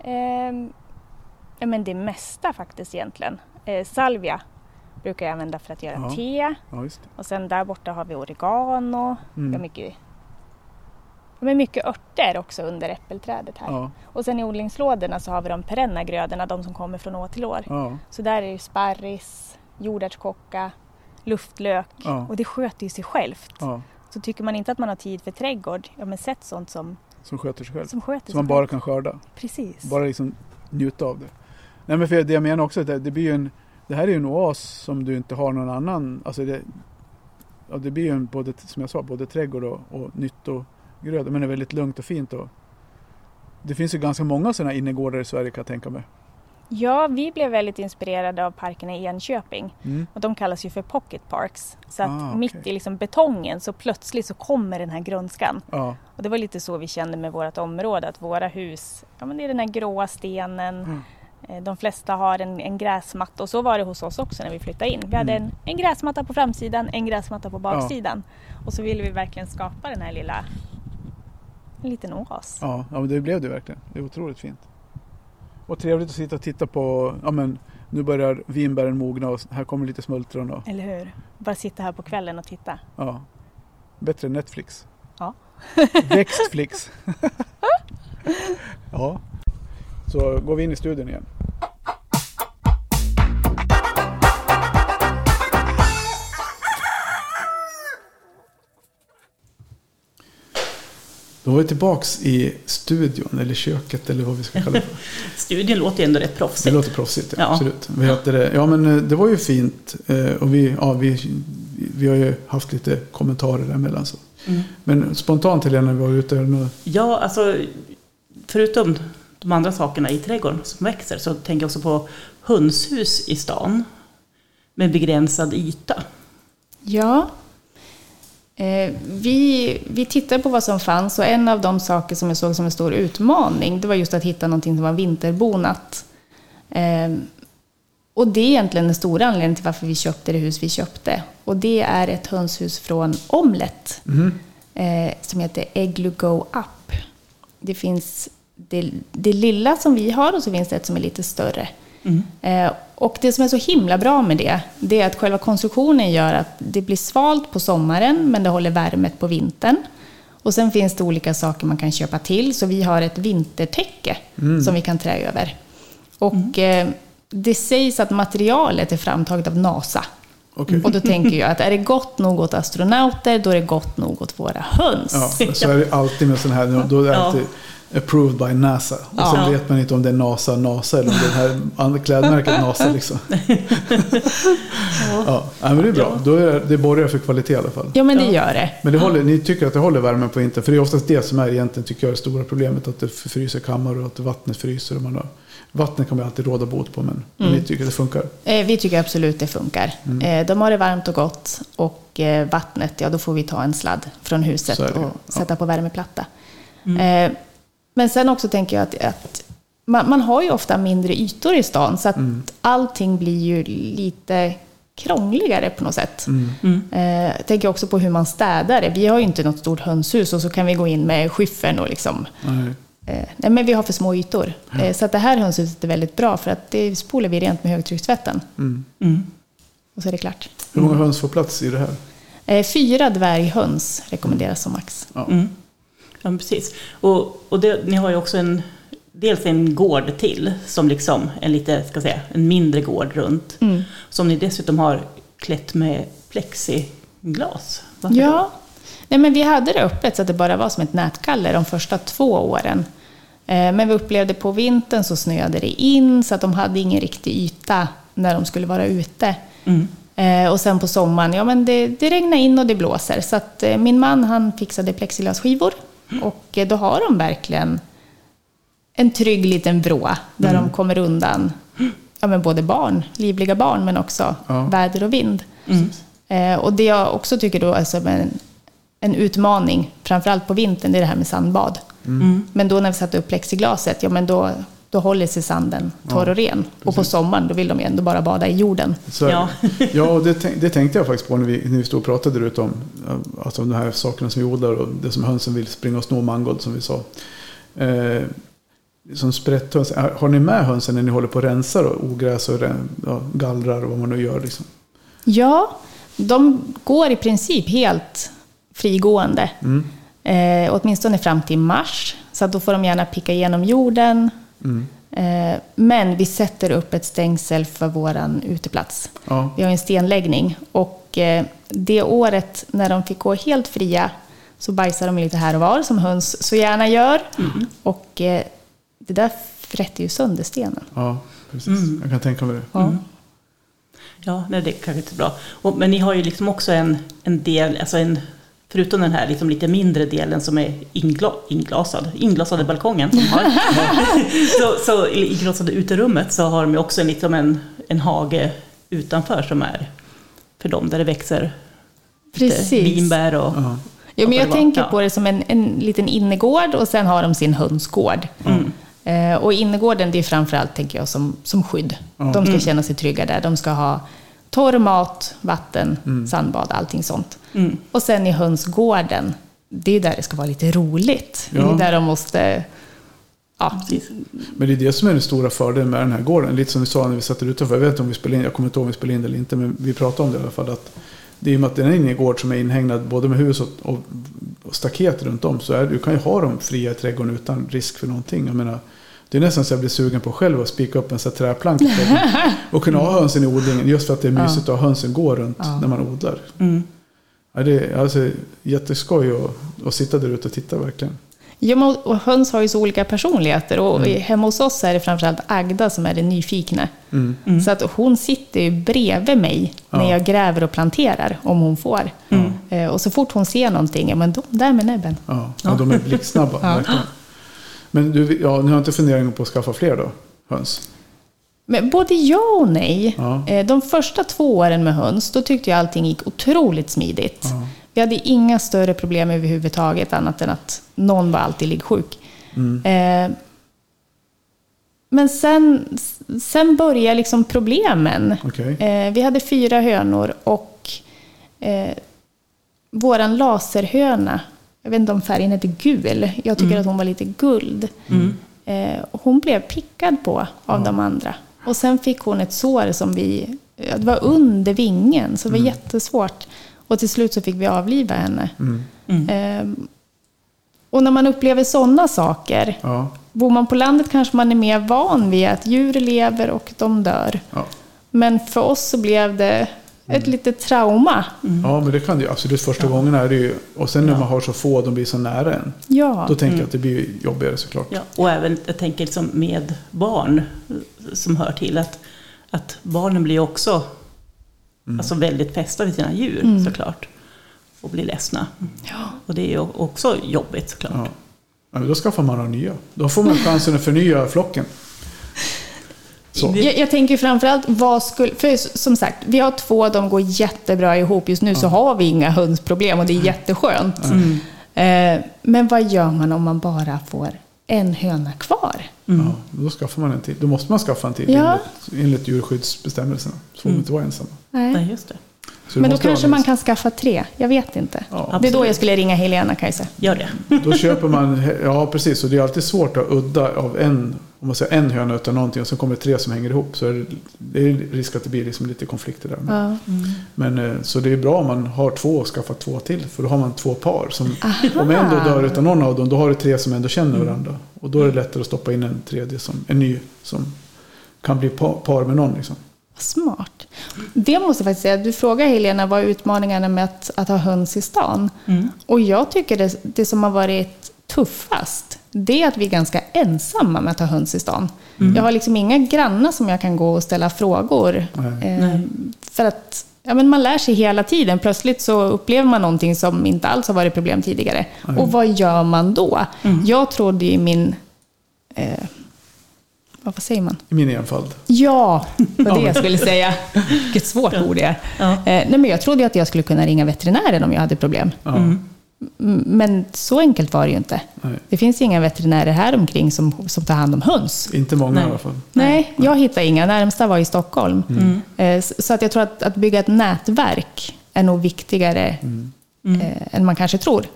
C: Ehm, ja, men det mesta faktiskt egentligen. Eh, salvia brukar jag använda för att göra
A: Ja.
C: te
A: Ja, just det.
C: och sen där borta har vi oregano. Vi har
A: Mm.
C: mycket, ja, men mycket örter också under äppelträdet här.
A: Ja,
C: Och sen i odlingslådorna så har vi de perenna grödorna, de som kommer från år till år.
A: ja,
C: Så där är ju sparris, jordärtskocka,
D: luftlök
A: Ja.
D: och det sköter ju sig självt.
A: Ja,
D: Så tycker man inte att man har tid för trädgård, ja men sätt sånt som,
A: som sköter sig själv.
D: som sköter
A: Som man
D: sig
A: bara
D: självt.
A: kan skörda.
D: Precis.
A: Bara liksom njuta av det. Nej men för det jag menar också är att det- det blir ju en... Det här är ju en oas som du inte har någon annan... Alltså det, ja, det blir ju en, både, som jag sa, både trädgård och, och nyttogröda. Men det är väldigt lugnt och fint. Och, det finns ju ganska många sådana innergårdar i Sverige kan jag tänka mig.
D: Ja, vi blev väldigt inspirerade av parkerna i Enköping
A: Mm.
D: och de kallas ju för pocket parks. Så att
A: Ah, okej.
D: mitt i liksom betongen så plötsligt så kommer den här grönskan.
A: Ja,
D: Och det var lite så vi kände med vårt område, att våra hus, ja men det är den här gråa stenen,
A: Mm.
D: eh, de flesta har en, en gräsmatta och så var det hos oss också när vi flyttade in. Vi hade
A: Mm.
D: en, en gräsmatta på framsidan, en gräsmatta på baksidan och så ville vi verkligen skapa den här lilla, en liten oas.
A: ja, ja men det blev det verkligen. Det är otroligt fint. Och trevligt att sitta och titta på, ja men nu börjar vinbären mogna och här kommer lite smultron och
D: Eller hur? Bara sitta här på kvällen och titta.
A: ja. Bättre än Netflix.
D: Ja.
A: Växtflix. ja. Så går vi in i studion igen. Då var vi tillbaks i studion eller köket eller vad vi ska kalla det. för.
B: Studien låter ju ändå rätt
A: Det
B: proffsigt.
A: låter proffsigt, ja.
B: Ja.
A: absolut. Vi hade det. Ja, men eh, det var ju fint. eh, Och vi, ja, vi, vi har ju haft lite kommentarer däremellan. Så.
B: Mm.
A: Men spontant Helena, vi var ute och...
B: Ja, alltså förutom de andra sakerna i trädgården som växer så tänker jag också på hönshus i stan med begränsad yta.
C: Ja. Eh, vi, vi tittade på vad som fanns och en av de saker som jag såg som en stor utmaning det var just att hitta någonting som var vinterbonat. Eh, och det är egentligen den stora anledningen till varför vi köpte det hus vi köpte. Och det är ett hönshus från Omlet eh, som heter Eglu Go Up. Det finns det, det lilla som vi har och så finns det ett som är lite större. Eh, och det som är så himla bra med det, det är att själva konstruktionen gör att det blir svalt på sommaren men det håller värmet på vintern. Och sen finns det olika saker man kan köpa till, så vi har ett vintertäcke som vi kan trä över. Och eh, det sägs att materialet är framtaget av NASA.
A: Okej.
C: Och då tänker jag att är det gott nog åt astronauter, då är det gott nog åt våra höns.
A: Ja, så är det alltid med sådana här. Då är det
B: Ja.
A: alltid approved by NASA. Och
C: Ja.
A: sen vet man inte om det är NASA, NASA eller om det är det här klädmärket NASA. Liksom. Ja, ja, men det är bra. Då är det, det borgar för kvalitet i alla fall.
C: Ja, men det gör det.
A: Men det håller, ni tycker att det håller värmen på vintern? För det är oftast det som är egentligen, tycker jag, det stora problemet. Att det fryser kammar och att vattnet fryser. Och man har, vattnet kan man alltid råda bot på, men men ni tycker att det funkar?
C: Eh, Vi tycker absolut det funkar.
A: Mm.
C: Eh, De har det varmt och gott och eh, vattnet, ja då får vi ta en sladd från huset
A: Så är det,
C: och
A: ja.
C: sätta på värmeplatta. Eh, Men sen också tänker jag att, att man, man har ju ofta mindre ytor i stan så att
A: Mm.
C: allting blir ju lite krångligare på något sätt.
A: Mm.
B: Mm,
C: Eh, Jag tänker också på hur man städar det. Vi har ju inte något stort hönshus och så kan vi gå in med skyffeln och liksom
A: Nej.
C: Eh, nej, men vi har för små ytor. Eh, så att det här hönshuset är väldigt bra för att det spolar vi rent med högtryckstvätten.
B: mm,
C: Och så är det klart.
A: Mm. Hur många höns får plats i det här?
C: Eh, fyra dvärghöns rekommenderas som max.
A: Ja.
B: mm. Ja, men precis. Och, och det, ni har ju också en, dels en gård till, som liksom en lite, ska jag säga, en mindre gård runt. Som ni dessutom har klätt med plexiglas. Varför
C: Ja. Nej, men vi hade det öppet så att det bara var som ett nätkalle de första två åren. Eh, men vi upplevde på vintern så snöade det in så att de hade ingen riktig yta när de skulle vara ute.
B: Mm.
C: Eh, och sen på sommaren, ja men det, det regnar in och det blåser. Så att eh, min man han fixade plexiglasskivor och eh, då har de verkligen en trygg liten vrå där de kommer undan ja, men både barn, livliga barn, men också
A: Ja.
C: väder och vind. Eh, och det jag också tycker då är som en, en utmaning, framförallt på vintern, det är det här med sandbad. Men då när vi satte upp plexiglaset, ja men då, då håller sig sanden torr och ren. och på sommaren, då vill de ju ändå bara bada i jorden.
A: Så är
B: Ja.
A: det. ja, och det, tänk- det tänkte jag faktiskt på när vi, när vi stod och pratade där ute om, eh, alltså om de här sakerna som vi odlar och det som hönsen vill springa och sno mangold som vi sa. Eh, som sprätthöns, har har ni med hönsen när ni håller på och rensar och ogräs och re- ja, gallrar och vad man nu gör? Liksom?
C: Ja, de går i princip helt frigående.
A: Mm. Mm.
C: Eh, åtminstone fram till mars. Så att då får de gärna picka igenom jorden. Eh, Men vi sätter upp ett stängsel för våran uteplats.
A: Ja.
C: Vi har en stenläggning och eh, det året när de fick gå helt fria så bajsade de lite här och var som höns så gärna gör. Och eh, det där frätte ju sönder stenen.
A: ja, precis. Jag kan tänka mig det.
C: Ja.
B: Ja, nej, det är kanske inte är bra. Och, men ni har ju liksom också en, en del, alltså en, förutom den här liksom lite mindre delen som är ingla, inglasad, inglasade balkongen, som har, så, så i- inglasade uterummet, så har de ju också en, liksom en, en hage utanför som är för dem, där det växer lite vinbär och...
A: Ja.
C: Ja, men
B: Ja,
C: jag
B: det var-
C: tänker
B: ja.
C: på det som en, en liten innergård och sen har de sin hönsgård.
B: Mm.
C: Eh, och innergården det är framförallt tänker jag, som, som skydd.
A: Ja.
B: Mm.
C: De ska känna sig trygga där. De ska ha torr mat, vatten,
B: Mm.
C: sandbad, allting sånt. Och sen i hönsgården, det är där det ska vara lite roligt. Det
A: Ja.
C: är där de måste... Ja,
B: Precis.
A: Men det är det som är den stora fördelen med den här gården. Lite som vi sa när vi satt där utanför. Jag vet inte om vi spelade in, jag kommer inte ihåg om vi spelade in det eller inte. Men vi pratade om det i alla fall. Att det är ju med att det är en innergård som är inhägnad både med hus och, och, och staket runt om. Så är, du kan ju ha dem fria i trädgården utan risk för någonting. Jag menar, det är nästan så jag blir sugen på själv att spika upp en sån här träplanka. i trädgården. och kunna ha hönsen i odlingen. Just för att det är mysigt att ha hönsen gå runt
C: Ja.
A: när man odlar.
B: Mm.
A: Ja, det är alltså, jätteskoj att, att sitta där ute och titta verkligen.
C: Ja, men- och höns har ju så olika personligheter och
B: Mm.
C: i- hemma hos oss är det framförallt Agda som är den nyfikna.
A: Mm.
C: Så att hon sitter ju bredvid mig när
A: Ja. Mm.
C: jag gräver och planterar, om hon får. Eh, Och så fort hon ser någonting, ja men då, där med näbben.
A: Ja, ja. de är blixtsnabba.
C: Ja.
A: verkligen. Men du, ja, ni har inte funderingar på att skaffa fler då? Höns?
C: Men både ja och nej.
A: Ja.
C: Eh, De första två åren med höns, då tyckte jag allting gick otroligt smidigt.
A: Ja.
C: Vi hade inga större problem överhuvudtaget, annat än att någon var alltid liggsjuk.
A: Mm.
C: Eh, Men sen, sen började liksom problemen.
A: Okej.
C: Eh, Vi hade fyra hönor och eh, våran laserhöna, jag vet inte om färgen heter gul, jag tycker att hon var lite guld. Eh, hon blev pickad på av de andra. Och sen fick hon ett sår som vi, ja, det var under vingen, så det var jättesvårt. Och till slut så fick vi avliva henne.
A: Mm.
B: Mm.
C: Eh, och när man upplever sådana saker,
A: Ja,
C: bor man på landet kanske man är mer van vid att djur lever och de dör.
A: ja.
C: Men för oss så blev det
A: Mm.
C: ett litet trauma.
A: ja, men det kan du ju absolut. Första gången är det ju... Och sen när man har så få, de blir så nära en.
C: Ja.
A: Mm.
C: Mm.
A: Då tänker jag att det blir ju jobbigare såklart.
B: Ja, och även, jag tänker liksom med barn eh, som hör till, att, att barnen blir också
A: Mm.
B: alltså väldigt fästa vid sina djur
C: Mm.
B: såklart. Och blir ledsna. Och det är ju också jobbigt såklart.
A: Ja. Ja, men då skaffar man några nya. Då får man chansen att förnya flocken. Så.
C: Jag, jag tänker framförallt, vad skulle... För s- som sagt, vi har två, de går jättebra ihop. Just nu så har vi inga hönsproblem och det är
A: Mm.
C: jätteskönt.
B: Mm.
C: Eh, men vad gör man om man bara får en höna kvar?
B: Mm.
A: Ja, då skaffar man en till. Då måste man skaffa en till
C: Mm. Ja. Mm.
A: enligt, enligt djurskyddsbestämmelserna. Så får man inte vara ensamma.
B: Nej, just det.
A: Så det
C: Men då
A: måste vara
C: kanske man
A: minst-
C: kan skaffa tre. Jag vet inte.
A: Ja.
C: Det är då
B: Absolut.
C: jag skulle ringa Helena kan jag säga.
B: Gör det.
A: Då köper man, ja precis, och det är alltid svårt att udda av en, om man säger en höna utan någonting och sen kommer tre som hänger ihop. Så är det, det är risk att det blir liksom lite konflikter där. Men,
C: Ja.
A: men, eh, så det är bra om man har två och skaffar två till. För då har man två par. Som, om en då dör utan någon av dem, då har du tre som ändå känner varandra. Och då är det lättare att stoppa in en tredje, som, en ny, som kan bli pa- par med någon. Liksom.
C: Vad Smart. Det måste jag faktiskt säga. Du frågar Helena vad utmaningarna med att, att ha höns i stan.
B: Mm.
C: Och jag tycker det, det som har varit tuffast, det är att vi är ganska ensamma med att ha höns i stan. Jag har liksom inga grannar som jag kan gå och ställa frågor.
A: Nej.
C: Eh, För att ja, men man lär sig hela tiden. Plötsligt så upplever man någonting som inte alls har varit problem tidigare. Och vad gör man då? Jag trodde ju i min... Eh, vad vad säger man?
A: I min enfald.
C: Ja, det var det jag skulle säga. Vilket svårt ord det är.
B: Ja.
C: Eh, nej, men jag trodde ju att jag skulle kunna ringa veterinären om jag hade problem.
A: Ja.
C: M- Men så enkelt var det ju inte.
A: Nej.
C: Det finns inga veterinärer här omkring som, som tar hand om höns.
A: Inte många
B: Nej.
A: i alla fall.
C: Nej, jag hittade inga. Närmsta var i Stockholm. Eh, s- Så att jag tror att, att bygga ett nätverk är nog viktigare
A: Mm.
B: Mm.
C: eh, än man kanske tror.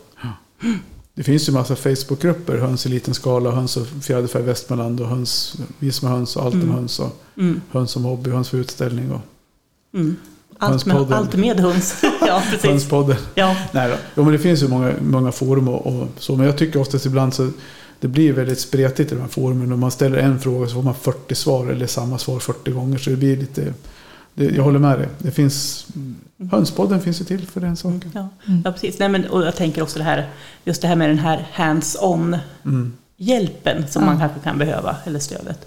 A: Det finns ju massa Facebookgrupper, höns i liten skala, höns och fjäderfä i Västmanland och höns, vi som har höns och allt om höns och
B: Mm.
A: höns som hobby, höns för utställning och
B: Allt med,
A: Hönspodden.
B: allt med höns. ja, precis.
A: hönspodden.
B: Ja.
A: Nej då. Jo, men det finns ju många, många forum och, och så, men jag tycker oftast ibland så det blir väldigt spretigt i de här forumen. Om man ställer en fråga så får man 40 svar eller samma svar 40 gånger. Så det blir lite... Det, jag håller med dig. Det finns, hönspodden finns ju till för den saken.
B: Ja,
C: Mm.
B: ja precis. Nej, men, och jag tänker också det här, just det här med den här hands-on
A: Mm.
B: hjälpen som man kanske kan behöva, eller stödet.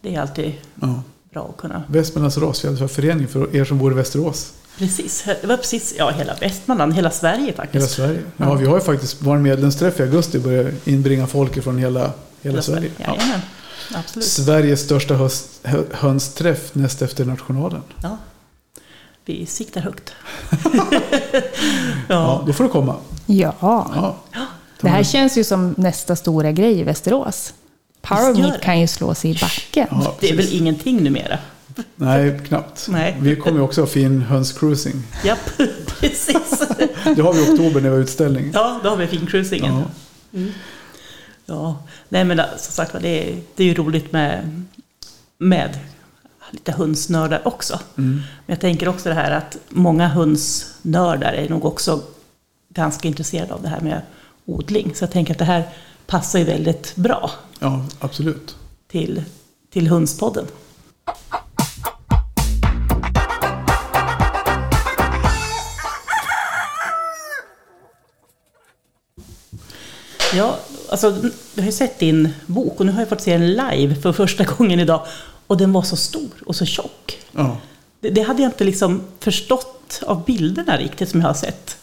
B: Det är alltid
A: Ja.
B: bra att kunna.
A: Västmanlands rasfjällsförening för er som bor i Västerås.
B: Precis, det var precis ja, hela Västmanland, hela Sverige faktiskt.
A: Hela Sverige. Ja, vi har ju faktiskt vår medlemsträff i augusti börjar inbringa folk från hela, hela Sverige. Ja.
B: Jajamän, absolut.
A: Sveriges största höst, hö- hönsträff näst efter nationalen.
B: Ja. Vi siktar högt.
A: Ja,
B: ja.
A: då får du komma.
C: Ja,
A: Ja.
C: det här känns ju som nästa stora grej i Västerås. Power
B: Visst gör
C: Meet
B: det.
C: kan ju slå sig i backen.
A: Ja,
B: Det är
A: precis.
B: väl ingenting numera?
A: Nej, knappt.
B: Nej.
A: Vi kommer ju också ha fin hönscruising.
B: Japp, precis.
A: Det har vi i oktober när vi har utställning.
B: Ja, då har vi fincruisingen.
A: Ja.
B: Ja. ja. Nej, men alltså, som sagt var, det är, det är ju roligt med, med lite hönsnördar också. Men jag tänker också det här att många hönsnördar är nog också ganska intresserade av det här med odling. Så jag tänker att det här passar ju väldigt bra
A: ja, absolut.
B: till, till Hönspodden. Ja, alltså, jag har ju sett din bok och nu har jag fått se den live för första gången idag. Och den var så stor och så tjock.
A: Ja.
B: Det, det hade jag inte liksom förstått av bilderna riktigt som jag har sett.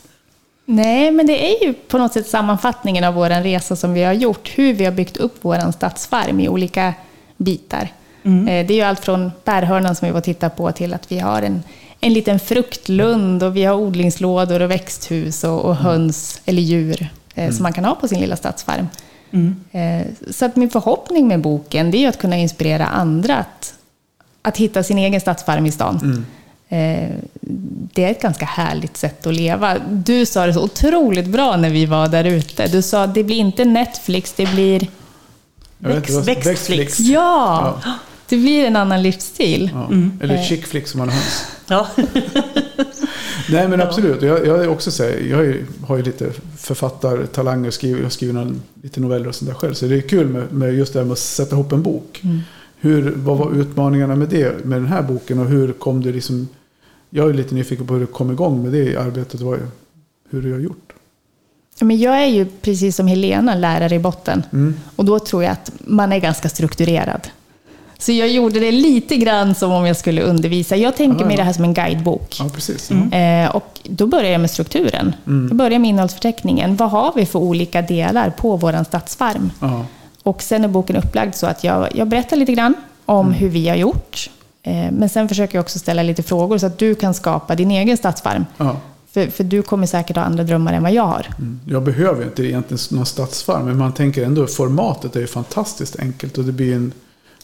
C: Nej, men det är ju på något sätt sammanfattningen av vår resa som vi har gjort. Hur vi har byggt upp vår stadsfarm i olika bitar. Eh, Det är ju allt från bärhörnan som vi var och tittade på till att vi har en, en liten fruktlund och vi har odlingslådor och växthus och, och höns eller djur eh, som man kan ha på sin lilla stadsfarm. Eh, Så att min förhoppning med boken det är ju att kunna inspirera andra att, att hitta sin egen stadsfarm i stan. Eh, det är ett ganska härligt sätt att leva. Du sa det så otroligt bra när vi var där ute. Du sa att det blir inte Netflix, det blir...
A: Jag vet inte vad-
B: Växt-
A: växtflix.
C: Ja! Det blir en annan livsstil.
A: Ja. Eller chickflix som man har höns.
B: Ja,
A: Nej men absolut. Jag, jag, är också så här, jag är, ju- har ju lite författartalang och skriver, jag skriver någon, lite noveller och sånt där själv. Så det är kul med, med just det här med att sätta ihop en bok.
B: Mm.
A: Hur, vad var utmaningarna med det, med den här boken och hur kom du liksom... Jag är lite nyfiken på hur du kom igång med det arbetet och vad, hur du har gjort.
C: Men jag är ju precis som Helena lärare i botten.
A: Mm.
C: Och då tror jag att man är ganska strukturerad. Så jag gjorde det lite grann som om jag skulle undervisa. Jag tänker
A: Ah,
C: mig
A: ja.
C: det här som en guidebok.
A: Ja Mm. precis.
B: Mm.
C: Eh, och då börjar jag med strukturen. Jag börjar med innehållsförteckningen. Vad har vi för olika delar på vår stadsfarm?
A: Ja.
C: Och sen är boken upplagd så att jag, jag berättar lite grann om
A: Mm.
C: hur vi har gjort. Eh, men sen försöker jag också ställa lite frågor så att du kan skapa din egen stadsfarm.
A: Ja.
C: För, för du kommer säkert ha andra drömmar än vad jag har.
A: Mm. Jag behöver ju inte egentligen någon stadsfarm men man tänker ändå formatet är ju fantastiskt enkelt och det blir en,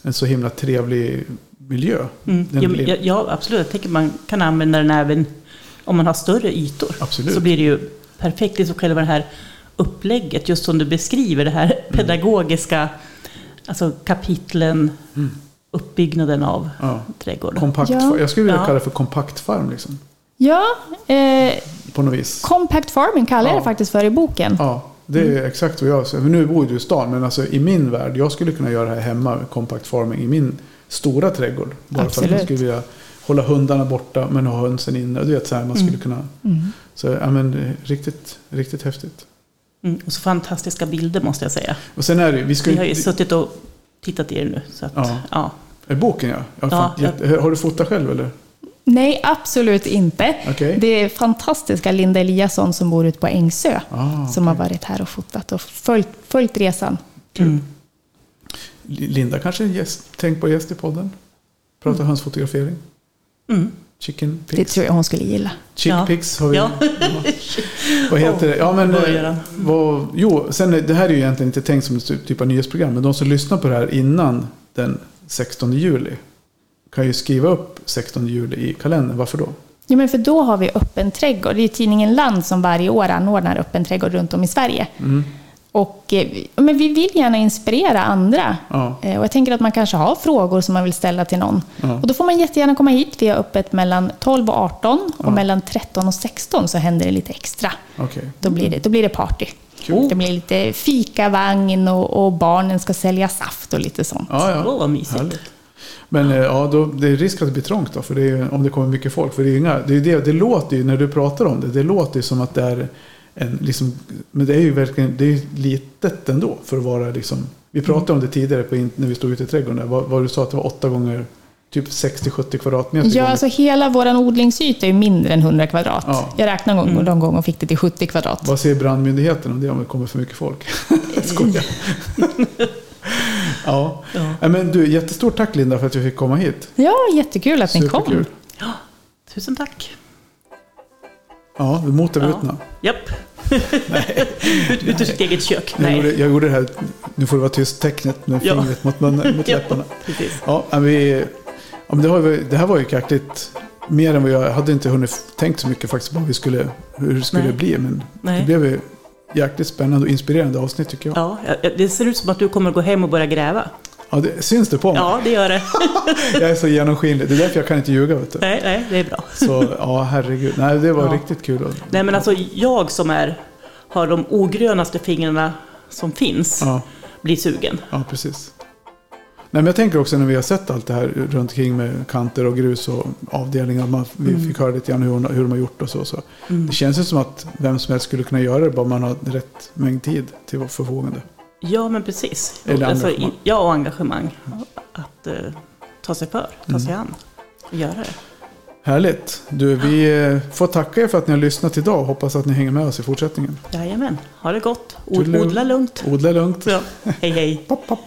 A: en så himla trevlig miljö.
B: mm.
A: Den
B: ja, men
A: blir-
B: ja, ja absolut. Jag tänker man kan använda den även om man har större ytor.
A: Absolut.
B: Så blir det ju perfekt. Liksom själva det här upplägget, just som du beskriver det här
A: Mm.
B: pedagogiska, alltså kapitlen,
A: Mm.
B: uppbyggnaden av
A: Ja.
B: trädgården.
A: Kompakt,
C: Ja.
A: far- Jag skulle vilja
B: Ja.
A: kalla det för kompakt farm liksom.
C: Ja, eh,
A: På något vis.
C: compact farming kallar jag
A: Ja.
C: det faktiskt för i boken.
A: Ja, det är exakt vad jag säger. Nu bor ju du i stan, men alltså i min värld, jag skulle kunna göra det här hemma, compact farming, i min stora trädgård. Bara för att
C: Absolut.
A: jag skulle vilja hålla hundarna borta men ha hönsen inne. Du vet så här man skulle kunna. Så ja, men, eh, riktigt, riktigt häftigt.
B: Mm. Och så fantastiska bilder måste jag säga.
A: Och sen är det ju- vi ska
B: Vi har
A: ju...
B: ju suttit och tittat i det nu. Så att,
A: Ja.
B: ja.
A: Är boken ja. ja, fan,
B: Ja,
A: jätte- Har du fotat själv eller?
C: Nej, absolut inte.
A: Okej.
C: Det är fantastiska Linda Eliasson som bor ute på Ängsö
A: Ah,
C: som har varit här och fotat och följt, följt resan.
A: Linda kanske är en gäst, tänk på gäst i podden. Prata hönsfotografering.
B: Mm.
A: Chicken
C: Det
A: pigs.
C: tror jag hon skulle gilla.
A: Chick
B: Ja.
A: pigs har vi.
B: Ja.
A: Vad heter det? Ja, men,
B: Vad gör han?
A: eh, vad, jo, sen, är- det här är ju egentligen inte tänkt som ett typ av nyhetsprogram, men de som lyssnar på det här innan den 16 juli kan ju skriva upp 16 juli i kalendern. Varför då?
C: Ja, men för då har vi öppen trädgård. Det är tidningen Land som varje år anordnar öppen trädgård runt om i Sverige.
A: Mm.
C: Och, eh, vi- men vi vill gärna inspirera andra.
A: Ja.
C: Eh, Och jag tänker att man kanske har frågor som man vill ställa till någon.
A: Ja.
C: Och då får man jättegärna komma hit. Vi har öppet mellan 12 och 18 och mellan 13 och 16 så händer det lite extra.
A: Okej.
C: Då blir det, då blir det party.
A: Kul.
C: Det blir lite fikavagn och, och barnen ska sälja saft och lite sånt.
A: Ja,
B: Åh, vad mysigt.
A: Härligt. Men eh, ja, då, det är risk att det blir trångt då, för det är, ju- om det kommer mycket folk. För det, är ju inga, det, är ju det, det låter ju, när du pratar om det, det låter ju som att det är en, liksom, men det är ju verkligen, det är ju litet ändå för att vara liksom,
C: Mm.
A: vi pratade om det tidigare på, in- när vi stod ute i trädgården, där, vad, vad du sa att det var åtta gånger, typ 60-70 kvadratmeter.
C: Ja,
A: gånger-
C: alltså hela vår odlingsyta är ju mindre än 100 kvadrat.
A: Ja. Mm.
C: Jag räknade någon gång, någon gång och fick det till 70 kvadrat.
A: Vad säger brandmyndigheten om det om det kommer för mycket folk? Jag skojar. ja.
B: Ja.
A: Nej, Men du, jättestort tack Linda för att jag fick komma hit.
C: Ja, jättekul att ni kom.
A: Superkul.
B: Ja, tusen tack.
A: Ja, vi motar
B: Ja.
A: brutna.
B: Japp. Ut, ut ur sitt eget kök.
A: Jag, gjorde, jag gjorde det här, nu får det vara tyst, tecknet med
B: Ja.
A: fingret mot, munnen, mot läpparna.
B: Ja, precis.
A: Ja, men vi, ja, men det, har, vi- det här var ju kackligt. Mer än vad jag jag hade inte hunnit tänkt så mycket faktiskt på vad vi skulle, hur det skulle
B: Nej.
A: bli. Men
B: Nej.
A: det blev ju jäkligt spännande och inspirerande avsnitt tycker jag. Ja.
B: Ja, ja, det ser ut som att du kommer gå hem och börja gräva.
A: det, syns det på mig?
B: Ja, det gör det.
A: Jag är så genomskinlig. Det är därför jag kan inte ljuga. Vet du.
B: Nej, nej, det är bra.
A: Så ja, herregud. Nej, det var
B: Ja.
A: riktigt kul. att-
B: Nej, men alltså jag som är, har de ogrönaste fingrarna som finns
A: Ja,
B: blir sugen.
A: ja, precis. Nej, men jag tänker också när vi har sett allt det här runt omkring med kanter och grus och avdelningar. Man, vi fick höra lite grann hur, hon- hur de har gjort och så. så. Det känns ju som att vem som helst skulle kunna göra det bara man har rätt mängd tid till vårt förfogande.
B: Ja, men precis.
A: Eller
B: alltså, i-
A: engagemang.
B: ja, och engagemang. Att eh, ta sig för, ta sig an och göra det.
A: Härligt. Du, vi eh, får tacka er för att ni har lyssnat idag och hoppas att ni hänger med oss i fortsättningen.
B: Jajamän, ha det gott. Od-
A: Toodaloo.
B: Odla lugnt.
A: Odla lugnt.
B: Ja. Hej, hej.
A: Pop, pop.